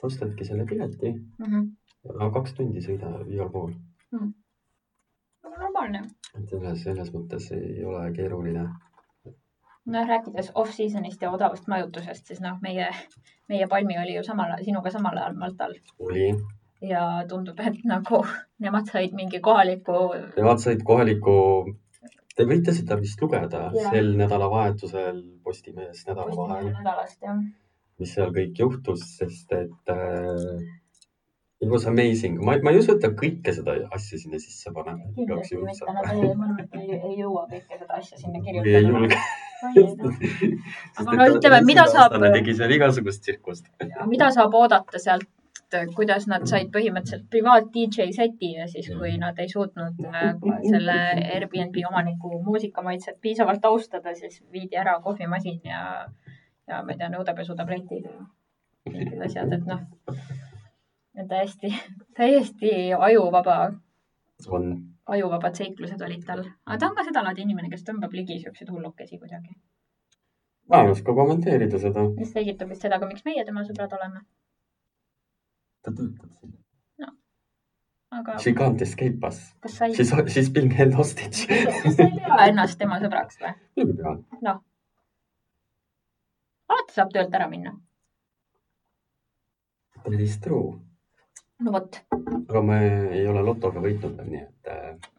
sa ostadki selle pileti , Mm -hmm. kaks tundi sõida igal pool , normaalne . et selles , selles mõttes ei ole keeruline . nojah , rääkides off-season'ist ja odavast majutusest , siis noh , meie , meie Palmi oli ju samal , sinuga samal ajal Maltal oli , ja tundub , et nagu nemad said mingi kohaliku , nemad said kohaliku , te võite seda vist lugeda Jaa. sel nädalavahetusel Postimehes nädalavahetusel . nädalast jah . mis seal kõik juhtus , sest et äh, it was amazing . ma , ma ei usu , et ta kõike seda asja sinna sisse paneb . igaks kindlasti juhuks mitte , nad ei , ma arvan , et ei, ei jõua kõike seda asja sinna ei julge . kirjutada . Aga no ütleme, mida saab- tegi seal igasugust tsirkust . mida saab oodata sealt , kuidas nad said põhimõtteliselt privaat DJ seti ja siis , kui nad ei suutnud äh, selle Airbnb omaniku muusikamaitset piisavalt austada , siis viidi ära kohvimasin ja , ja ma ei tea , nõudepesutabletid ja mingid asjad , et noh , täiesti , täiesti ajuvaba , on , ajuvabad seiklused olid tal . aga ta on ka sedalaadi inimene , kes tõmbab ligi siukseid hullukesi kuidagi . ma ei oska kommenteerida seda . mis selgitab vist seda ka , miks meie tema sõbrad oleme , ta töötab siin . aga She can't escape us . kas sa ei , She's , she's being held hostage . kas sa ei pea ennast tema sõbraks või ? muidugi pean . alati saab töölt ära minna . That is true . no vot , aga me ei ole lotoga võitnud veel , nii et äh,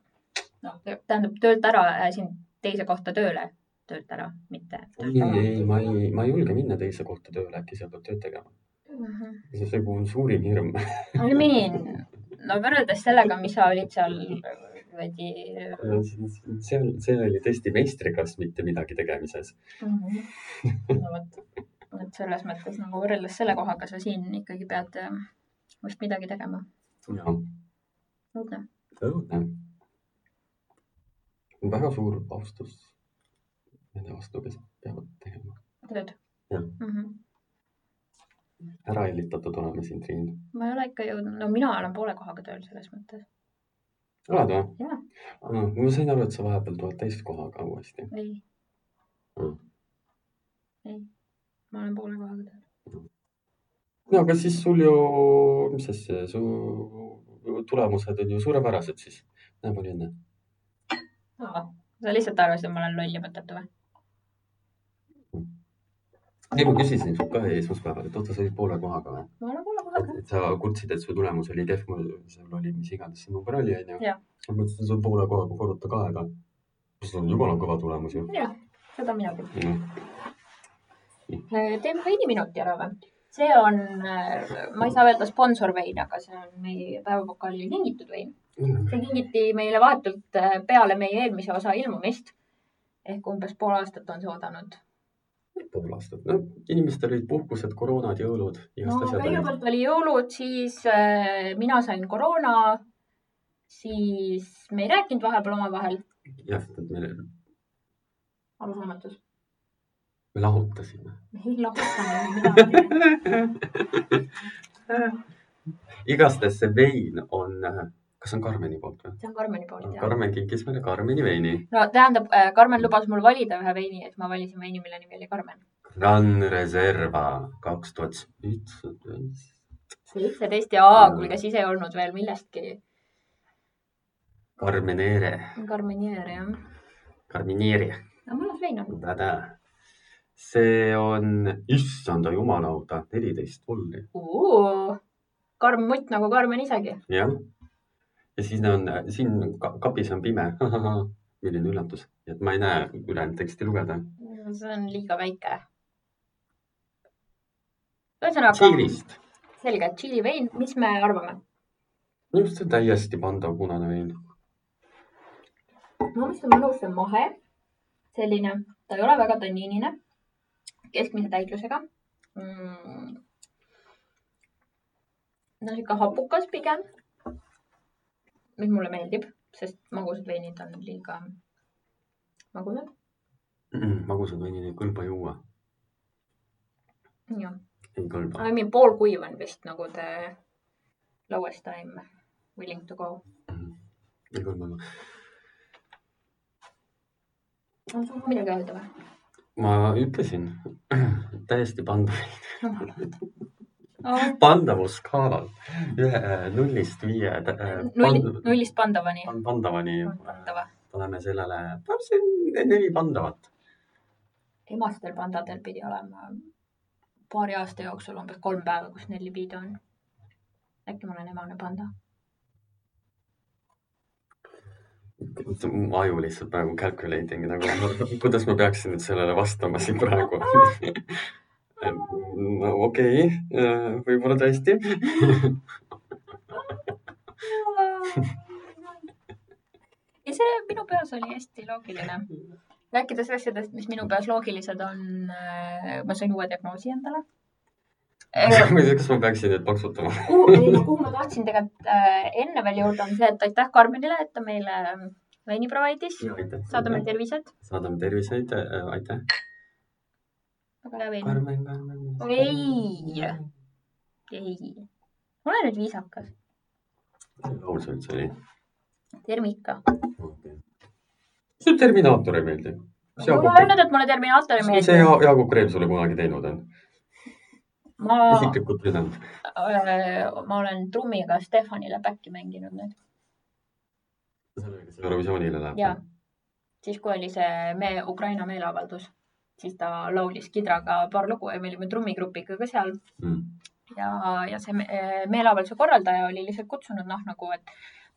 noh , tähendab töölt ära äh, siin teise kohta tööle , töölt ära , mitte töölt ei , ära . ei , ma ei , ma ei julge minna teise kohta tööle , äkki seal peab tööd tegema . see see on suurim hirm . Mhm. I mean , no võrreldes sellega , mis sa olid seal äh, veidi . seal , see oli tõesti meistriklass mitte midagi tegemises . äh, no vot , et selles mõttes nagu võrreldes selle kohaga sa siin ikkagi pead äh, vast midagi tegema . õudne . õudne . väga suur austus nende vastu , kes peavad tegema . tööd Jah. mm . -hmm. ära hellitatud oleme siin , Triin . ma ei ole ikka jõudnud , no mina olen poole kohaga tööl selles mõttes . oled või ? Jaa. ma sain aru , et sa vahepeal tuled täiskohaga uuesti . ei Mm. . ei , ma olen poole kohaga tööl . no aga siis sul ju , mis asja , su tulemused on ju suurepärased siis . näe , palju õnne . Aa, sa lihtsalt arvasid , et ma olen loll ja mõttetu või ? ei , ma küsisin sult ka esmaspäeval , et oota , sa olid poole kohaga või ? ma olen poole kohaga . et sa kurtsid , et su tulemus oli kehv , mul seal oli mis iganes see number oli , onju . Jah. ma mõtlesin , et see on poole kohaga korruta kaega . see on jumala kõva tulemus ju . jah , seda mina küll . noh , teeme veini minuti ära või ? see on , ma ei saa öelda sponsorvein , aga see on meie päevapokaali kingitud vein . see kingiti meile vahetult äh, peale meie eelmise osa ilmumist ehk umbes pool aastat on see oodanud . pool aastat , no inimestel olid puhkused , koroonad , jõulud , no igast asjad olid . kõigepealt oli jõulud , siis äh, mina sain koroona , siis me ei rääkinud vahepeal omavahel , jah , et me , arusaamatus . me lahutasime . ei lahutanud midagi . igastahes see vein on , kas see on Karmeni poolt või ? see on Karmeni poolt jah . Karmen kinkis meile Karmeni veini . no tähendab , Karmen lubas mul valida ühe veini , et ma valisin veini , mille nimi oli Karmen . Gran Reserva kaks tuhat seitseteist . see seitseteist ja A , kuule , kes ise ei olnud veel millestki . Carmenere , Karmenier jah . Carminieri . no mõnus vein nagu- on . Tada. see on , issanda jumalauda , neliteist volli , karm mutt nagu Karmen isegi . jah . ja siis on siin ka- kapis on pime . milline üllatus , et ma ei näe ülejäänud teksti lugeda . see on liiga väike . ühesõnaga , Tšiilist , selge , tšiili vein , mis me arvame ? minu arust see on täiesti pandav punane vein . minu meelest on mõnus , see on mahe , selline , ta ei ole väga tanniinine , keskmise täitlusega mm. . no sihuke hapukas pigem , mis mulle meeldib , sest magusad veinid on liiga magusad . magusad veinid ei kõlba juua , jah , ei kõlba I . mean poolkuiv on vist nagu the lowest time willing to go . ei Mm. kõlba . on sul midagi öelda või ? ma ütlesin täiesti pandav , null , pandavusskaalal ühe äh, nullist viie tä- pand- nullist pandavani . pan- pandavani äh, pandava . paneme sellele , see on neli pandavat . emastel pandadel pidi olema paari aasta jooksul umbes kolm päeva , kus neil libido on . äkki ma olen emane panda ? mu aju lihtsalt praegu calculating nagu , kuidas ma peaksin nüüd sellele vastama siin praegu . no okei okay, , võib-olla tõesti . ja see minu peas oli hästi loogiline . rääkides asjadest , mis minu peas loogilised on , ma sain uue diagnoosi endale . kas ma peaksin nüüd paksutama ? kuhu , kuhu ma tahtsin tegelikult äh, enne veel jõuda , on see , et aitäh Karmenile , et ta meile ähm, veini provide'is . saadame . tervised . saadame terviseid , aitäh . väga hea vein . Karmen , Karmen . Ei. . ei , ole nüüd viisakas . laul see üldse oli ? termika . see Terminaator ei meeldi . ma ei ole öelnud , et mulle Terminaator ei see meeldi . Ja- Jaagup Kreem sulle kunagi teinud on , ma , isiklikult pidanud . ma olen trummiga Stefanile back'i mänginud nüüd . Eurovisioonile ja läheb . siis , kui oli see me Ukraina meeleavaldus , siis ta laulis Kidraga paar lugu ja me olime trummigrupiga ka seal Mm. ja , ja see me- meeleavalduse korraldaja oli lihtsalt kutsunud noh , nagu et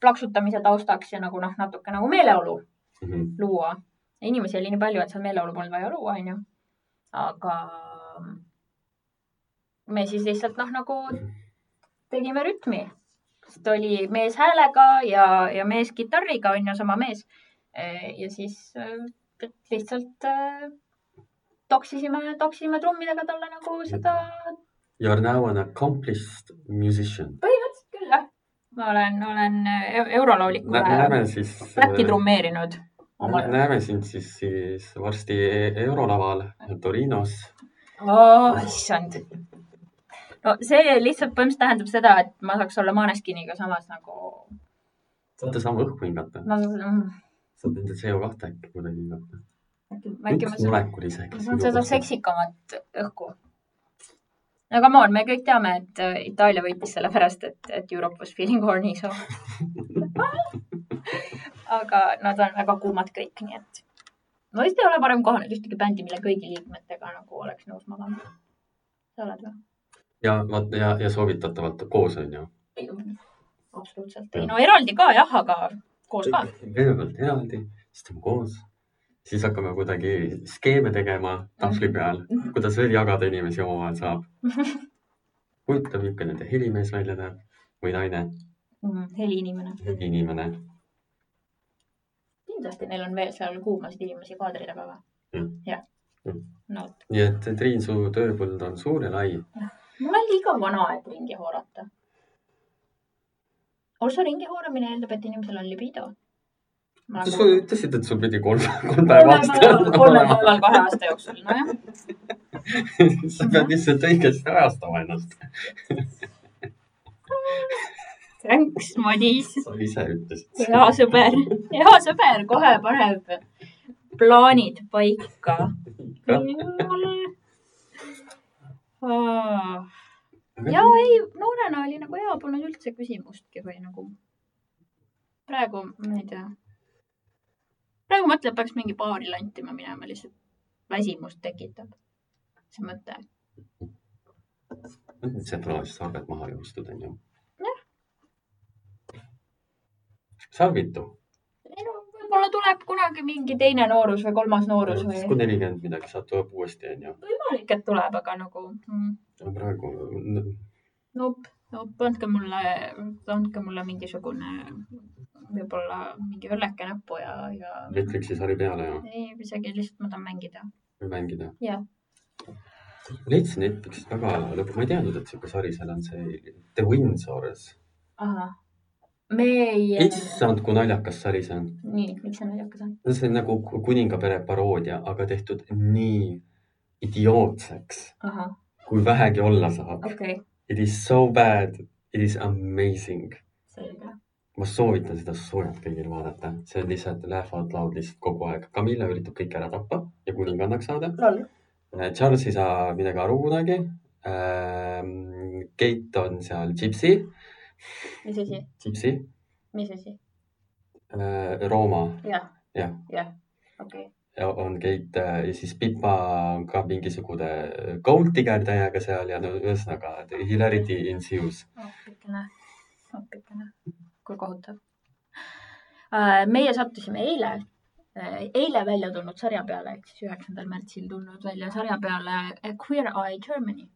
plaksutamise taustaks ja nagu noh , natuke nagu meeleolu Mhm. luua . inimesi oli nii palju , et seal meeleolu polnud vaja luua , onju . aga me siis lihtsalt noh , nagu tegime rütmi . sest oli mees häälega ja , ja mees kitarriga onju , sama mees . ja siis eh, lihtsalt eh, toksisime , toksisime trummidega talle nagu seda You are now an accomplished musician . põhimõtteliselt küll jah . ma olen , olen eu- eurolaulikule näeme siis . back'i trummeerinud . omal ajal . näeme sind siis , siis varsti eurolaval Torinos . issand . no see lihtsalt põhimõtteliselt tähendab seda , et ma saaks olla Maneskiniga samas nagu , saate sama õhku hingata , ma saan , saate enda CO kahte äkki kuidagi hingata . äkki , äkki ma üks saan , molekul isegi ma . saan Mhm, seda seksikamat õhku . no come on , me kõik teame , et äh, Itaalia võitis sellepärast , et , et Europe was feeling horny so . aga nad on väga kuumad kõik , nii et ma vist ei ole varem kohanud ühtegi bändi , mille kõigi liikmetega nagu oleks nõus magama . sa oled või ? ja vaat ja , ja soovitatavalt koos on ju . absoluutselt ei , no eraldi ka jah , aga koos ka . kõigepealt eraldi , siis teeme koos , siis hakkame kuidagi skeeme tegema tahvli peal , kuidas veel jagada inimesi omavahel saab . huvitav , milline nende helimees välja näeb või naine , Mhm, heliinimene . Mhm. heliinimene . kindlasti neil on veel seal kuumasid inimesi kaadri taga või Jah. ? jah Jah. . no vot. nii et Triin , su tööpõld on suur ja lai . mul on liiga vana , et ringi haarata . osa ringi haaramine eeldab , et inimesel on libido . sa ütlesid , et sul pidi kolm , kolm päeva aastas kolme olema . päeval kahe aasta jooksul , nojah . sa pead lihtsalt õigesti ajastama ennast . Thanks , Madis . sa ise ütlesid . hea sõber , hea sõber kohe paneb plaanid paika . ja ei , noorena oli nagu hea , polnud üldse küsimustki või nagu . praegu ma ei tea . praegu mõtlen , peaks mingi baari lantima minema , lihtsalt väsimust tekitab see mõte . see plaanis sarved maha joostud onju . sarvitu . ei no võib-olla tuleb kunagi mingi teine noorus või kolmas noorus või siis kui nelikümmend midagi saab , tuleb uuesti onju . võimalik , et tuleb , aga nagu mm, praegu nope , nope , andke mulle , andke mulle mingisugune võib-olla mingi õlleke näppu ja , ja Netflixi sari peale ja ei , isegi lihtsalt ma tahan mängida . või mängida . Jah. leidsin Netflixist väga lõpp , ma ei teadnud , et siuke sari seal on , see The Windsors . me ei , issand , kui naljakas sari see on . nii , miks see naljakas on ? see on nagu ku- kuningapere paroodia , aga tehtud nii idiootseks , ahah , kui vähegi olla saab . okei okay. , It is so bad , it is amazing . selge . ma soovitan seda soojalt kõigil vaadata , see on lihtsalt laugh out loud lihtsalt kogu aeg . Camilla üritab kõik ära tappa ja kuningannaks saada . lol . Charles ei saa midagi aru kunagi . Kate on seal Gypsy , mis asi , Gypsy , mis asi ? Rooma jah , Jah. , jah , okei . ja on Kate äh, ja siis Pipa on ka mingisugune gold digger täiega seal ja no ühesõnaga hilarity ensues . appikene , appikene , kui kohutav . meie sattusime eile , eile välja tulnud sarja peale , ehk siis üheksandal märtsil tulnud välja sarja peale A Queer Eye Germany .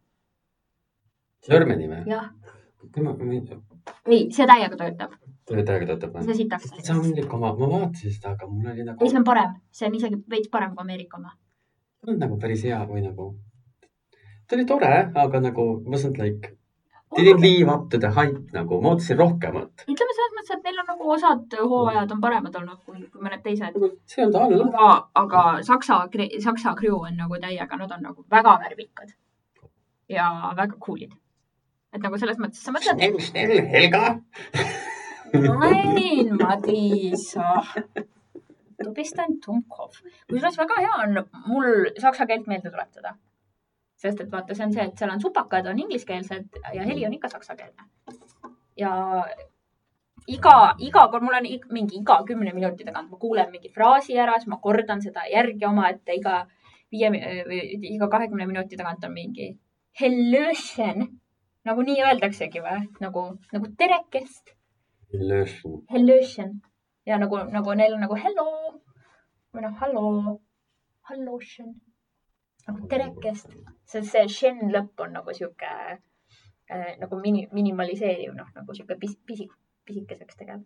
Germany või ? jah , tema , ma ei tea , ei , see täiega töötab , töötajaga töötab või ? see sitaks see on töötab . muidugi oma , ma vaatasin seda , aga mul oli ei , nagu see , on parem , see on isegi veits parem kui Ameerika oma . on nagu päris hea või nagu , ta oli tore , aga nagu wasn't like , didn't ütleme live up to the hype nagu , ma ootasin rohkemat . selles mõttes , et neil on nagu osad hooajad on paremad olnud kui , kui mõned teised . Nagu see on ta all . aga , aga saksa , saksa crew on nagu täiega , nad on nagu väga värvikad ja väga cool'id . et nagu selles mõttes sa mõtled , Schnell , schnell , Helga . nain , Madis . Tubistan Tumkov . kusjuures väga hea on mul saksa keelt meelde tuletada . sest et vaata , see on see , et seal on supakad on ingliskeelsed ja heli on ikka saksakeelne . ja iga , iga kord , mul on ig- mingi iga kümne minuti tagant , ma kuulen mingi fraasi ära , siis ma kordan seda järgi omaette iga viie või iga kahekümne minuti tagant on mingi hellösen , nagu nii öeldaksegi või nagu , nagu terekest . Illusion , Hellöchen ja nagu , nagu neil on nagu hello või noh , hallo , hallochen nagu terekest , see , see šen lõpp on nagu sihuke äh, nagu mini , minimaliseeriv , noh nagu sihuke pis, pisik , pisikeseks tegev .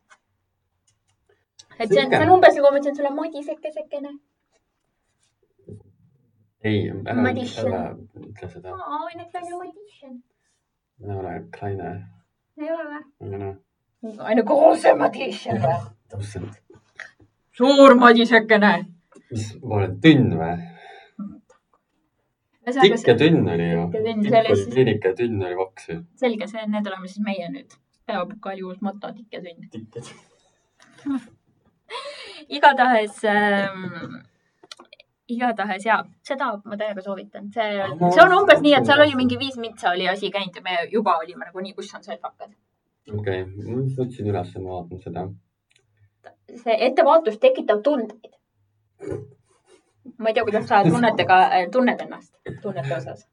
et see on , see on umbes nagu ma ütlesin sulle madisekesekene . ei , ära , Madison. ära ütle seda , aa , need on ju madischen , ära ole Kleine , ei ole või ? ära aina koos on madischen . täpselt , suur madisekene . mis , ma olen tünn või ? tikk ja tünn oli ju . Tikk ja tünn, see tikk oli oli siis- peenike ja tünn oli kaks ju . selge , see , need oleme siis meie nüüd . päevapukaali uus moto , tikk ja tünn . tikk ja tünn . igatahes ähm, , igatahes ja seda ma täiega soovitan , see , Ma- see on umbes nii , et seal oli mingi viis mitsa oli asi käinud ja me juba olime nagunii , kus on sõlpakad . okei okay. , ma just võtsin üles ja ma vaatan seda . see ettevaatus tekitab tundeid . ma ei tea , kuidas sa tunnetega , tunned ennast tunnete osas .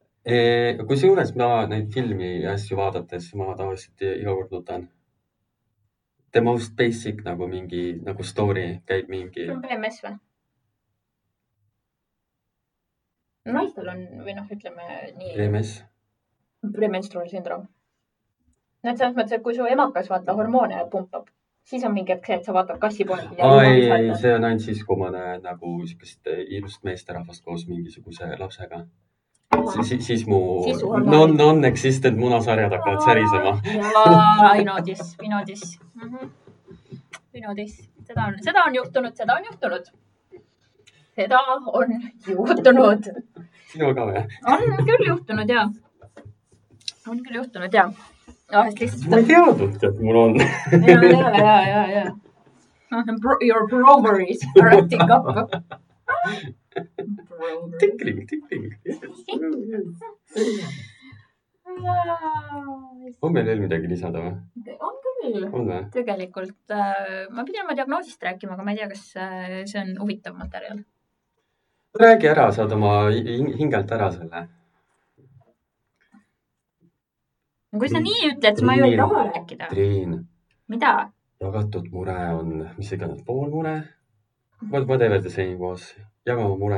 kusjuures ma neid filmi ja asju vaadates , ma tavaliselt iga kord nutan . The most basic nagu mingi nagu story käib mingi sul on PMS või ? naistel on või noh , ütleme nii , EMS . premenstruaalsündroom . no Noh, et selles mõttes , et kui su emakas vaata hormoone pumpab , siis on mingi hetk see , et sa vaatad kassi poole . aa ei , ei , see on ainult siis , kui ma näen nagu siukest ilust meesterahvast koos mingisuguse lapsega . siis , siis mu Siis su hormonid. non , non-existent munasarjad hakkavad särisema . jaa , I know this , I know this mm . -hmm. I know this , seda on , seda on juhtunud , seda on juhtunud . seda on juhtunud , sinul ka või ? on küll juhtunud ja , on küll juhtunud Ah, ja . ma ei teadnudki , et mul on . ja , ja , ja , ja , ja . Your broveries are acting up . tikling , tikling . on meil veel midagi lisada või ? on küll on või ? tegelikult äh, ma pidin oma diagnoosist rääkima , aga ma ei tea , kas äh, see on huvitav materjal . räägi ära , saad oma hing- hingelt ära selle . kui sa nii ütled , siis ma ju ei taha rääkida . Triin , mida ? jagatud mure on , mis iganes , pool mure . Whatever the same was , jaga oma mure ,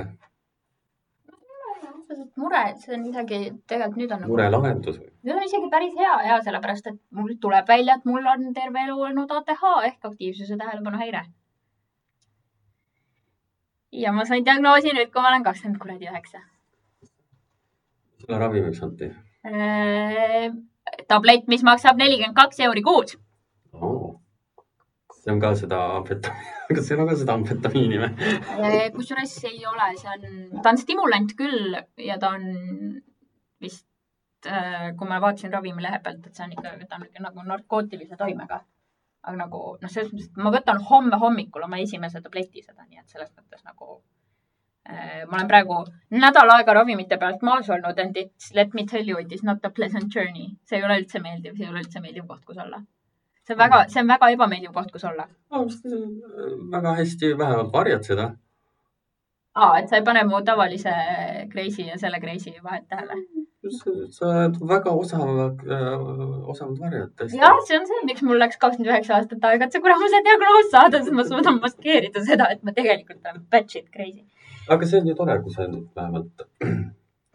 mure , see on midagi , tegelikult nüüd on nagu , mure lahendus . nüüd on isegi päris hea ja sellepärast , et mul tuleb välja , et mul on terve elu olnud ATH ehk aktiivsuse tähelepanuhäire . ja ma sain diagnoosi nüüd , kui ma olen kakskümmend kuradi üheksa . selle ravimiks anti . tablett , Äh, mis maksab nelikümmend kaks euri kuus . see on ka seda amfetamiini , kas seal on ka seda amfetamiini või ? Eh, kusjuures ei ole , see on , ta on stimulant küll ja ta on vist , eh, kui ma vaatasin ravimilehe pealt , et see on ikka , ta on ikka nagu narkootilise toimega . aga nagu noh, selles mõttes , et ma võtan homme hommikul oma esimese tableti seda , nii et selles mõttes nagu äh, ma olen praegu nädal aega ravimite pealt maas olnud and it's let me tell you it is not a pleasant journey . see ei ole üldse meeldiv , see ei ole üldse meeldiv koht , kus olla . see on väga , see on väga ebameeldiv koht , kus olla . väga hästi vähemalt varjad seda . aa , et sa ei pane mu tavalise kreisi ja selle kreisi vahet tähele . sa oled väga osava , äh, osavalt varjad tõesti . jah , see on see , miks mul läks kakskümmend üheksa aastat aega , et see kuramuse diagnoos saada , siis ma suudan maskeerida seda , et ma tegelikult olen batshit crazy . aga see on ju tore , kui sa nüüd vähemalt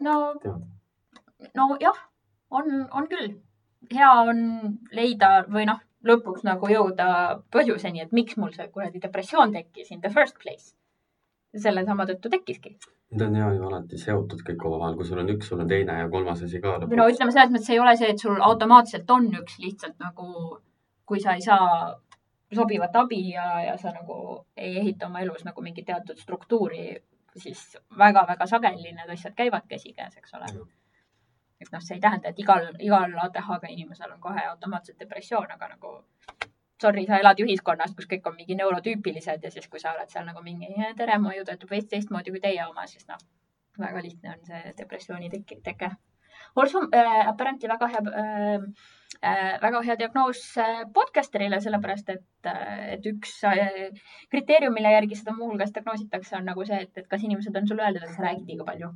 no tead . nojah , on , on küll . hea on leida või noh , lõpuks nagu jõuda põhjuseni , et miks mul see kuradi depressioon tekkis in the first place . sellesama tõttu tekkiski . Need on hea ju alati seotud kõik omavahel , kui sul on üks , sul on teine ja kolmas asi ka või no . ütleme selles mõttes ei ole see , et sul automaatselt on üks lihtsalt nagu , kui sa ei saa sobivat abi ja , ja sa nagu ei ehita oma elus nagu mingit teatud struktuuri , siis väga-väga sageli need asjad käivad käsikäes , eks ole . et noh , see ei tähenda , et igal , igal ATH-ga inimesel on kohe automaatselt depressioon , aga nagu sorry , sa elad ühiskonnas , kus kõik on mingi neurotüüpilised ja siis , kui sa oled seal nagu mingi tere , mu aju töötab veits teistmoodi kui teie oma , siis noh , väga lihtne on see depressiooni teke, teke. . Also äh, apparently väga hea äh, , äh, väga hea diagnoos äh, podcasterile , sellepärast et äh, , et üks äh, kriteerium , mille järgi seda muuhulgas diagnoositakse , on nagu see , et , et kas inimesed on sulle öelnud , et sa räägid liiga palju .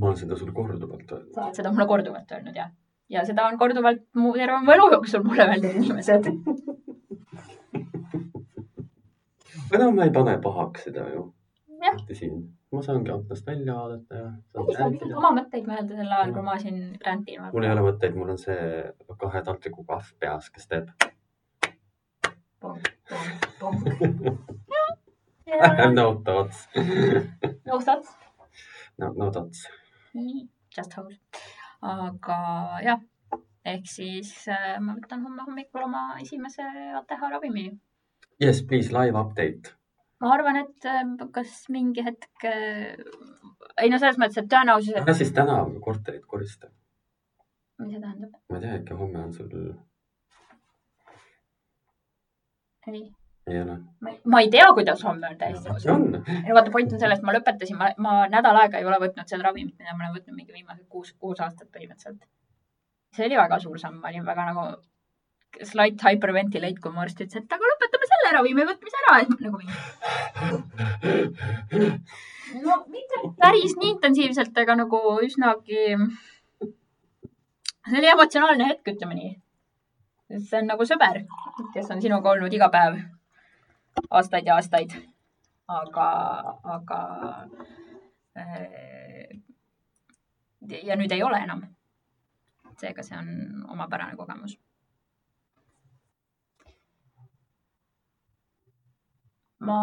ma olen seda sulle korduvalt öelnud . sa oled seda mulle korduvalt öelnud ja , ja seda on korduvalt mu terve mu elu jooksul mulle öelnud inimesed . aga no ma ei pane pahaks seda ju . Jah. siin , ma saangi aknast välja vaadata ja saan sa võid rääkida . oma mõtteid mõelda sel ajal , kui ma siin rändin . mul ei ole mõtteid , mul on see kahe tantriku kahv peas , kes teeb . no thoughts , nõustad ? no, no thoughts . nii , just house . aga jah , ehk siis äh, ma võtan homme hommikul oma esimese ATH ravimi . Yes , please , live update . ma arvan , et äh, kas mingi hetk äh, , ei no selles mõttes , et tõenäosus , et ära siis täna korterit korista . mis see tähendab , ma ei tea , äkki homme on sul , ei , ei ole ? ma ei tea , kuidas homme on täiesti ausalt . on , ei vaata , point on selles , ma lõpetasin , ma , ma nädal aega ei ole võtnud seda ravimit , mida ma olen võtnud mingi viimased kuus , kuus aastat põhimõtteliselt . see oli väga suur samm , ma olin väga nagu slight hyperventilate , kui mu arst ütles , et aga lõpetame selle ravimi võtmise ära , et nagu mingi . no mitte päris nii intensiivselt , aga nagu üsnagi . see oli emotsionaalne hetk , ütleme nii . see on nagu sõber , kes on sinuga olnud iga päev aastaid ja aastaid aga , aga äh, ja nüüd ei ole enam . seega see on omapärane kogemus . ma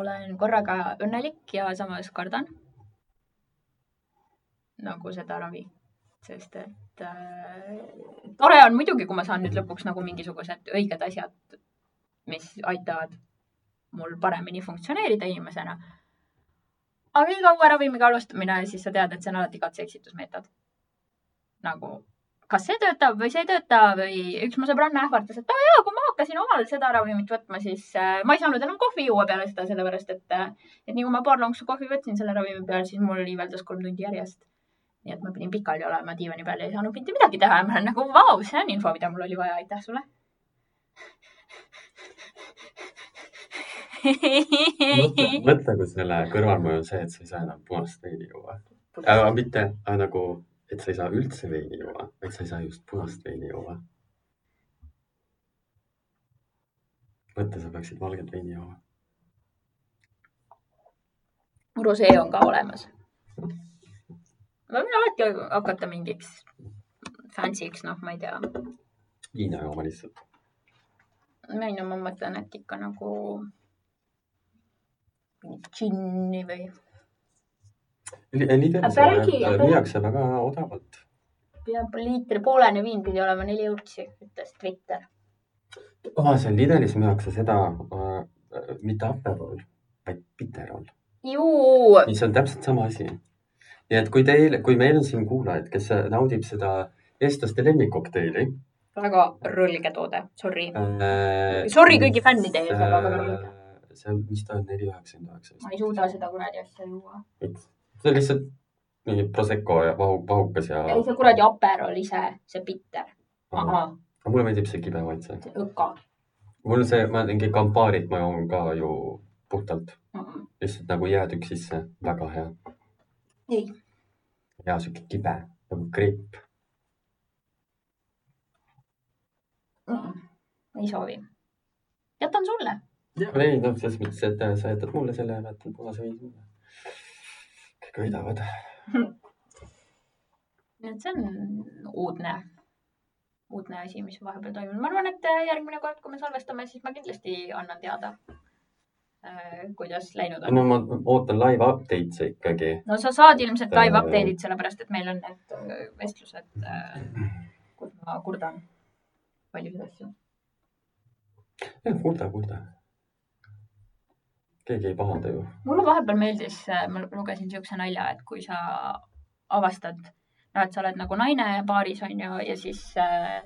olen korraga õnnelik ja samas kardan nagu seda ravi , sest et äh, tore on muidugi , kui ma saan nüüd lõpuks nagu mingisugused õiged asjad , mis aitavad mul paremini funktsioneerida inimesena . aga iga uue ravimiga alustamine , siis sa tead , et see on alati katse-eksitusmeetod . nagu , kas see töötab või see ei tööta või üks mu sõbranna ähvardas , et aa jaa , kui ma hakkasin omal seda ravimit võtma , siis äh, ma ei saanud enam kohvi juua peale seda , sellepärast et , et nii kui ma paar lonksu kohvi võtsin selle ravimi peal , siis mul iiveldas kolm tundi järjest nii et ma pidin pikali olema diivani peal ja ei saanud mitte midagi teha ja ma olen nagu , vau , see on info , mida mul oli vaja , aitäh sulle mõtle , mõtle , kui selle kõrvalmõju on see , et sa ei saa enam punast veini juua . aga mitte aga nagu , et sa ei saa üldse veini juua , vaid sa ei saa just punast veini juua . mõtle , sa peaksid valget veini jooma . rosee on ka olemas . ma võin alati hakata mingiks fancy'ks , noh , ma ei tea . viina jooma lihtsalt . ei no ma mõtlen , et ikka nagu mingit džinni või . eh, Apparently- Liidesse müüakse väga odavalt . peab liitri poolene viin pidi olema neli eurtsi , ütles Twitter . seal Lidelis Ah, müüakse seda äh, äh, mitte aperool , vaid piterol , juu , mis on täpselt sama asi . äh, nii et kui teil , kui meil on siin kuulajaid , kes naudib seda eestlaste lemmikkokteili , väga rõlge toode , sorry . äh, . Sorry kõigi fännide ees, aga väga rõõm. seal , mis ta on , neli üheksakümmend üheksa ma ei suuda seda kuradi asja juua . vist . see on lihtsalt mingi Prosecco ja vahu , vahukas ja . ei , see kuradi aper oli see , see bitter . aga ahah , mulle meeldib see kibe maitse . see õka mul see , ma mingi kampaarit ma joon ka ju puhtalt , mm. . lihtsalt nagu jäätükk sisse , väga hea . ei , hea sihuke kibe nagu gripp . ei soovi . jätan sulle . ei noh , selles mõttes , et äh, sa jätad mulle selle ja ma jätan punase veini sulle . kõik võidavad . nii et see on uudne , uudne asi , mis vahepeal toimunud . ma arvan , et järgmine kord , kui me salvestame , siis ma kindlasti annan teada , kuidas läinud on . no ma ootan live updates'e ikkagi . no sa saad ilmselt live Äh, update'id , sellepärast et meil on need äh, vestlused , kus ma kurdan paljusid asju . kurda , kurda . keegi ei pahanda ju . mulle vahepeal meeldis , ma lugesin niisuguse nalja , et kui sa avastad , noh , et sa oled nagu naine paaris , on ju , ja siis äh,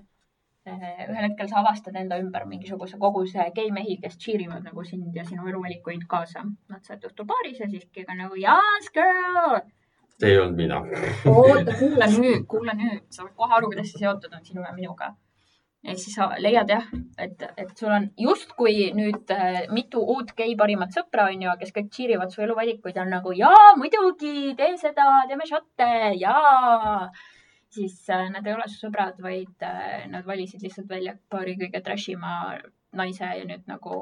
äh, ühel hetkel sa avastad enda ümber mingisuguse koguse gei mehi , kes cheer ivad nagu sind ja sinu eluvalikuid kaasa . Nad sa oled õhtul baaris ja siis keegi on nagu yes girl . see ei olnud mina . oota , kuula nüüd , kuula nüüd , sa saad kohe aru , kuidas see seotud on sinu ja minuga . ehk siis sa leiad jah , et , et sul on justkui nüüd äh, mitu uut gei parimat sõpra , onju , kes kõik cheer ivad su eluvalikuid ja on nagu jaa , muidugi , tee seda , teeme šotte , jaa . siis äh, nad ei ole su sõbrad , vaid äh, nad valisid lihtsalt välja paari kõige trash ima naise ja nüüd nagu ,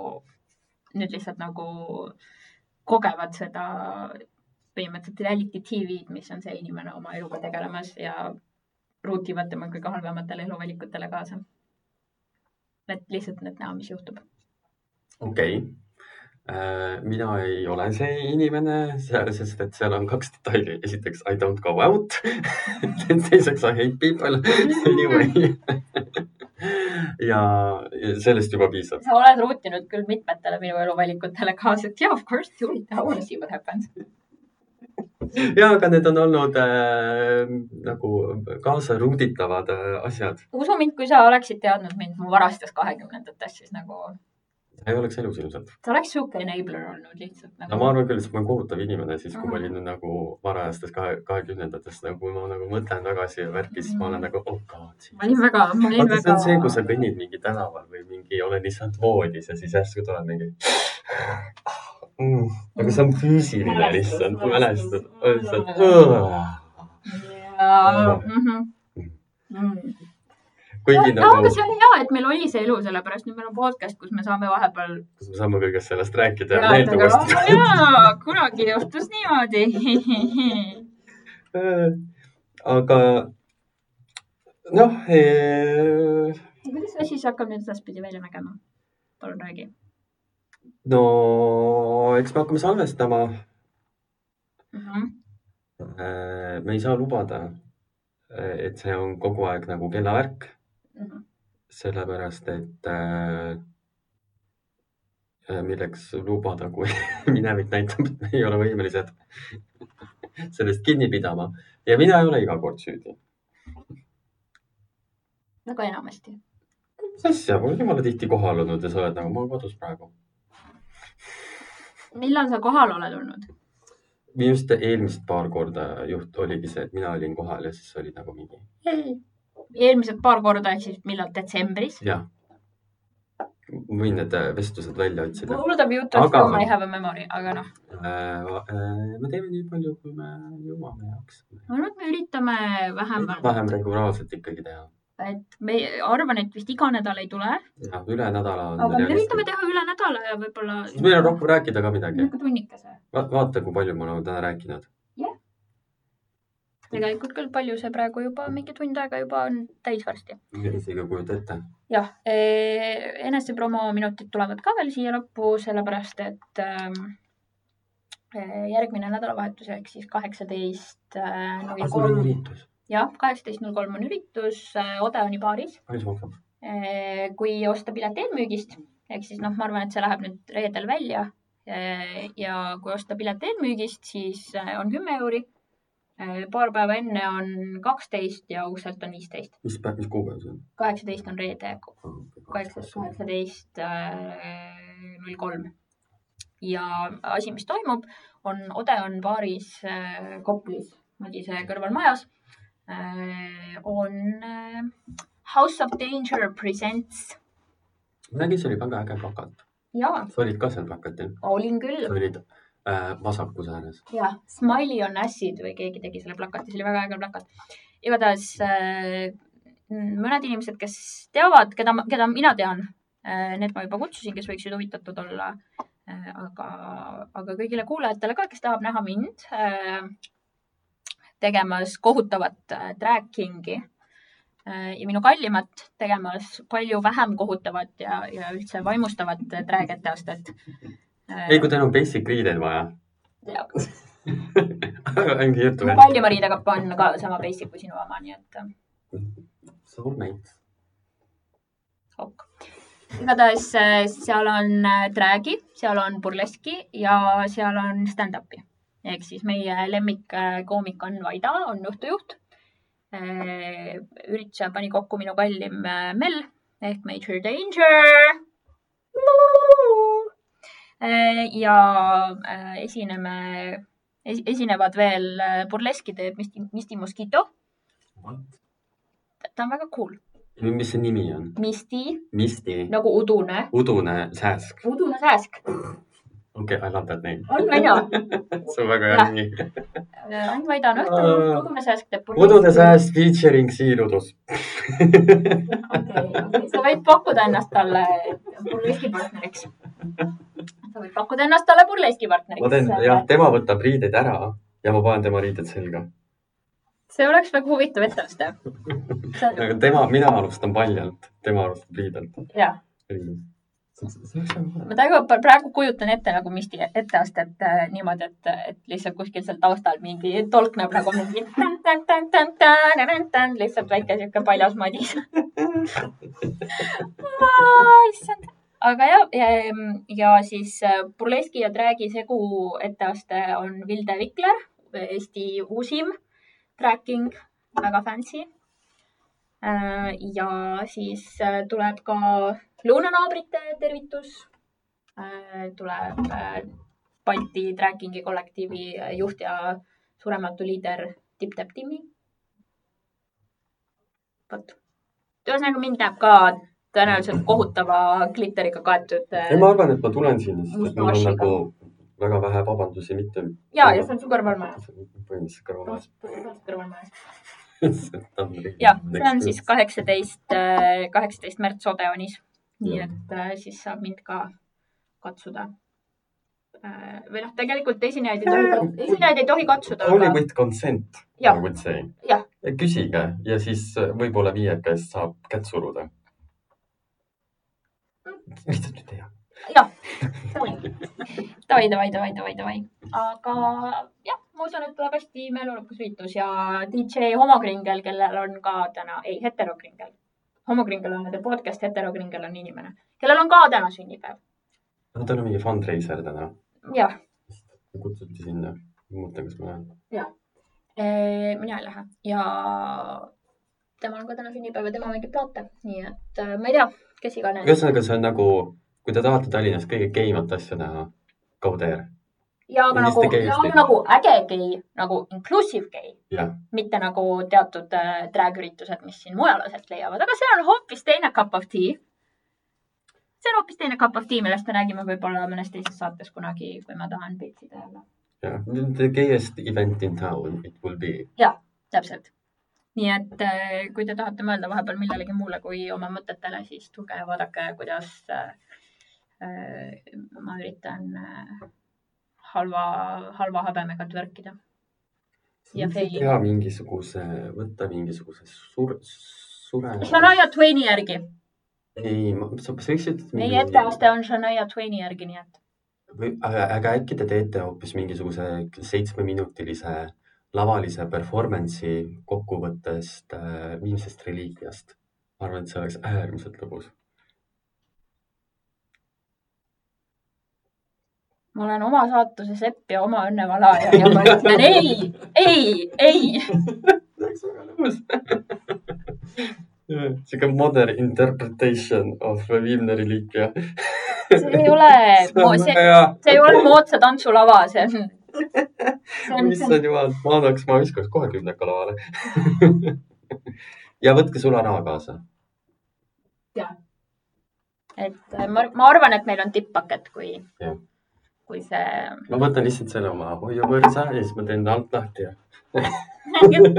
nüüd lihtsalt nagu kogevad seda põhimõtteliselt reality tv-d , mis on see inimene oma eluga tegelemas ja ruutivad tema kõige halvematele eluvalikutele kaasa . et lihtsalt , et näha , mis juhtub . okei . mina ei ole see inimene , sest et seal on kaks detaili . esiteks I don't go out . teiseks I hate people anyway . ja ja sellest juba piisab . sa oled ruutinud küll mitmetele minu eluvalikutele kaasa , et yeah of course you I wanna see what happens . ja , aga need on olnud äh, nagu kaasaruuditavad äh, asjad . usu mind , kui sa oleksid teadnud mind mu varastes kahekümnendates , siis nagu ei oleks elus ilmselt . sa oleks sihuke enabler olnud lihtsalt no ma nagu . arvan küll , sest ma olen kohutav inimene , siis kui ma Mhm. olin nagu varajastes kahe , kahekümnendates , nagu kui ma nagu mõtlen tagasi ja värki , siis ma olen nagu oh god . Mm. ma olin väga , ma olin vaata , see on see , kui sa väga . kõnnid mingi tänaval või mingi , oled lihtsalt voodis ja siis järsku tuleb mingi mm. . aga see on füüsiline lihtsalt , mälestus , lihtsalt . jaa , mhmh . Mm-hmm. kuigi no aga nagu , see oli hea , et meil oli see elu , sellepärast nüüd meil on podcast , kus me saame vahepeal kas me saame kõigest sellest rääkida ja teada ka meeldivast . oh, . jaa , kunagi juhtus niimoodi . aga noh eh... kuidas see asi siis hakkab nüüd edaspidi välja nägema ? palun räägi . no eks me hakkame salvestama . Mm-hmm. Äh, me ei saa lubada , et see on kogu aeg nagu kellavärk , Mm-hmm. sellepärast et äh, milleks lubada , kui minevik näitab , et me ei ole võimelised sellest kinni pidama ja mina ei ole iga kord süüdi . väga enamasti . mis asja , ma olen jumala tihti kohal olnud ja sa oled nagu , ma olen kodus praegu . millal sa kohal oled olnud ? just eelmist paar korda juht oligi see , et mina olin kohal ja siis oli nagu mingi eelmised paar korda ehk siis millal detsembris ? jah . ma võin need äh, vestlused välja otsida . mul tuleb juttu , et Aga- ma ei have a memory , aga noh , äh, me teeme nii palju , kui me jõuame ja ma arvan , et me üritame vähemalt , vähem regulaarselt ikkagi teha . et me , arvan , et vist iga nädal ei tule , jah , üle nädala on . aga me üritame . teha üle nädala ja võib-olla . siis meil on rohkem rääkida ka midagi . nagu tunnikese . vaata , kui palju ma olen täna rääkinud . tegelikult küll palju see praegu juba mingi tund aega juba on täis varsti . isegi ei kujuta ette . jah , enesepromo minutid tulevad ka veel siia lõppu , sellepärast et ähm, eh, järgmine nädalavahetus ehk siis kaheksateist äh, null aga sul on kolm , üritus . jah , kaheksateist null kolm on üritus eh, Odeoni baaris , palju see maksab ? Äh, kui osta pilet eelmüügist , ehk siis noh , ma arvan , et see läheb nüüd reedel Äh, välja Eh, ja kui osta pilet eelmüügist , siis eh, on äh, kümme euri paar päeva enne on kaksteist ja uudselt on viisteist . mis päev , mis kuupäev see on ? kaheksateist on reede , kaheksas , kaheksateist äh, null kolm . ja asi , mis toimub , on Odeon baaris äh, Koplis , Madise kõrvalmajas , on äh, House of Danger Presents . ma nägin , see oli väga äge plakat . jaa , sa olid ka seal plakatil , olin küll sa . olid äh, vasakus ääres . jah , Smiley on acid või keegi tegi selle plakati , see oli väga äge plakat . igatahes äh, mõned inimesed , kes teavad , keda , keda mina tean äh, , need ma juba kutsusin , kes võiksid huvitatud olla äh, . aga , aga kõigile kuulajatele ka , kes tahab näha mind äh, tegemas kohutavat äh, tracking'i äh, ja minu kallimat tegemas palju vähem kohutavat ja , ja üldse vaimustavat äh, track etteastet äh, ei , kui teil on basic riideid vaja . ja- ongi juttu . mu kallima riidega on ka sama basic kui sinu oma , nii et äh, Soulmate . ok . igatahes äh, seal on äh, drag'i , seal on burleski ja seal on stand-up'i ehk siis meie lemmikkoomik on Vaida , on õhtujuht . ürituse pani kokku minu kallim äh, Mel ehk Major Danger . ja äh, esineme , esinevad veel äh, burleski teeb Misti , Misti Mosquito , ta on väga cool . mis see nimi on ? Misti Misti no. , nagu udune , udune sääsk . udune sääsk okei okay, , I love that name . on väga see on väga Jah. hea nimi . Ain Vaida on õhtul , Aa. udune sääsk teeb . udune . sääsk featuring Siil Udus . sa võid pakkuda ennast talle burleski partneriks . sa võid pakkuda ennast talle burleski ma teen , jah , partneriks . tema võtab riided ära ja ma panen tema riided selga . see oleks väga huvitav etteaste . tema , mina alustan paljalt , tema alustab riidelt . jah , ma tegelikult praegu kujutan ette nagu Misti etteastet äh, niimoodi , et , et lihtsalt kuskil seal taustal mingi tolkneb nagu mingi lihtsalt väike siuke paljas madis . issand , aga ja , ja siis äh, burleski ja tragi segu etteaste on Vilde Vikler , Eesti uusim tracking , väga fancy . ja siis äh, tuleb ka lõunanaabrite tervitus . tuleb äh, Balti trackingi kollektiivi äh, juht ja surematu liider Tipp-Täpp Timmi . vot , ühesõnaga mind näeb ka tõenäoliselt kohutava gliteriga kaetud . äh, ei , ma arvan , et ma tulen sinna , sest et mul on Mustaažiga. nagu väga vähe vabandusi , mitte . ja , ja see on su kõrvalmajas . põhimõtteliselt kõrvalmajas . kõrvalmajas . jah , see on siis . kaheksateist , kaheksateist märts Odeonis . nii Jah. et äh, siis saab mind ka katsuda . või noh , tegelikult esinejaid ei tohi , esinejaid ei tohi katsuda , Only aga with consent , I Jah. would say . Jah. küsige ja siis äh, võib-olla viieka eest saab kätt Mm. suruda . lihtsalt ei tea . davai , davai , davai , davai , davai . aga jah , ma usun , et tuleb hästi meeleolukas üritus ja DJ homokringel , kellel on ka täna , ei , heterokringel . homokringel on nende podcast , heterokringel on inimene , kellel on ka täna sünnipäev . no tal on mingi fundraiser täna . jah , kutsuti sinna . ma mõtlen , kas ma lähen . Eh, mina ei lähe ja temal on ka täna sünnipäev ja tema mängib plaate , nii et eh, ma ei tea , kes iganes . ühesõnaga , see on nagu , kui te tahate Tallinnas kõige geimat asja näha , go there . ja aga nagu milliste , geist ja aga teil- nagu äge gei , nagu inclusive gei , jah , mitte nagu teatud äh, drag-üritused , mis siin mujal aset leiavad , aga see on hoopis teine cup of tea . see on hoopis teine cup of tea , millest me räägime võib-olla mõnes teises saates kunagi , kui ma tahan pitsi teha . jah . The gayest event in town it will be . täpselt . nii et eh, kui te tahate mõelda vahepeal millelegi muule kui oma mõtetele , siis tulge ja vaadake , kuidas eh, eh, ma üritan eh, halva , halva habemega twerkida . Ja faili. teha mingisuguse , võtta mingisuguse sur- , sure . Shania Twaini järgi , ei , sa sa võiksid . meie etteaste on Shania Twaini järgi , nii et või , aga äkki te teete hoopis mingisuguse seitsmeminutilise lavalise performance'i kokkuvõttest äh, viimsest reliigiast ? ma arvan , et see oleks äärmiselt lõbus . ma olen oma saatuse sepp ja oma õnne valaja ja ma ütlen ei , ei , ei . oleks väga lõbus . sihuke modern interpretation of Wimneri liikja . see ei ole , see , see ei ole moodsa tantsulava , see on , see on , see on , issand jumal , ma annaks , ma viskaks kohe kümneka lavale . ja võtke sularaha kaasa . et äh, ma , ma arvan , et meil on tipppakett , kui Jah. , kui see ma võtan lihtsalt selle oma hoiupõrsa ja siis ma teen ta alt lahti ja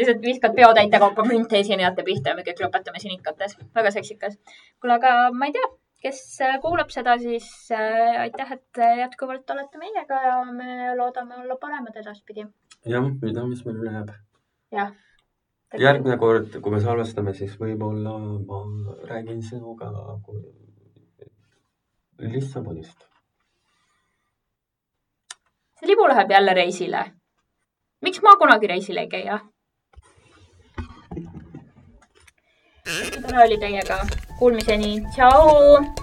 lihtsalt viskad peotäite kaupa münte esinejate pihta ja me kõik lõpetame sinikates . väga seksikas . kuule , aga ma ei tea , kes kuulab seda , siis äh, aitäh , et jätkuvalt olete meiega ja me loodame olla paremad edaspidi . jah , mida , mis meil üle jääb . jah . järgmine kord , kui me salvestame , siis võib-olla ma räägin sinuga kui- Lissabonist . see libu läheb jälle reisile . miks ma kunagi reisil ei käi , jah ? tore oli teiega . Kuulmiseni , tšau .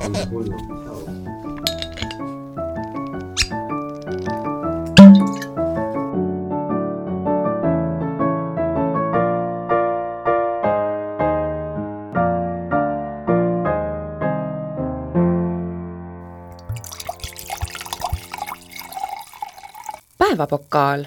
Anna hullu , tšau . päevapokaal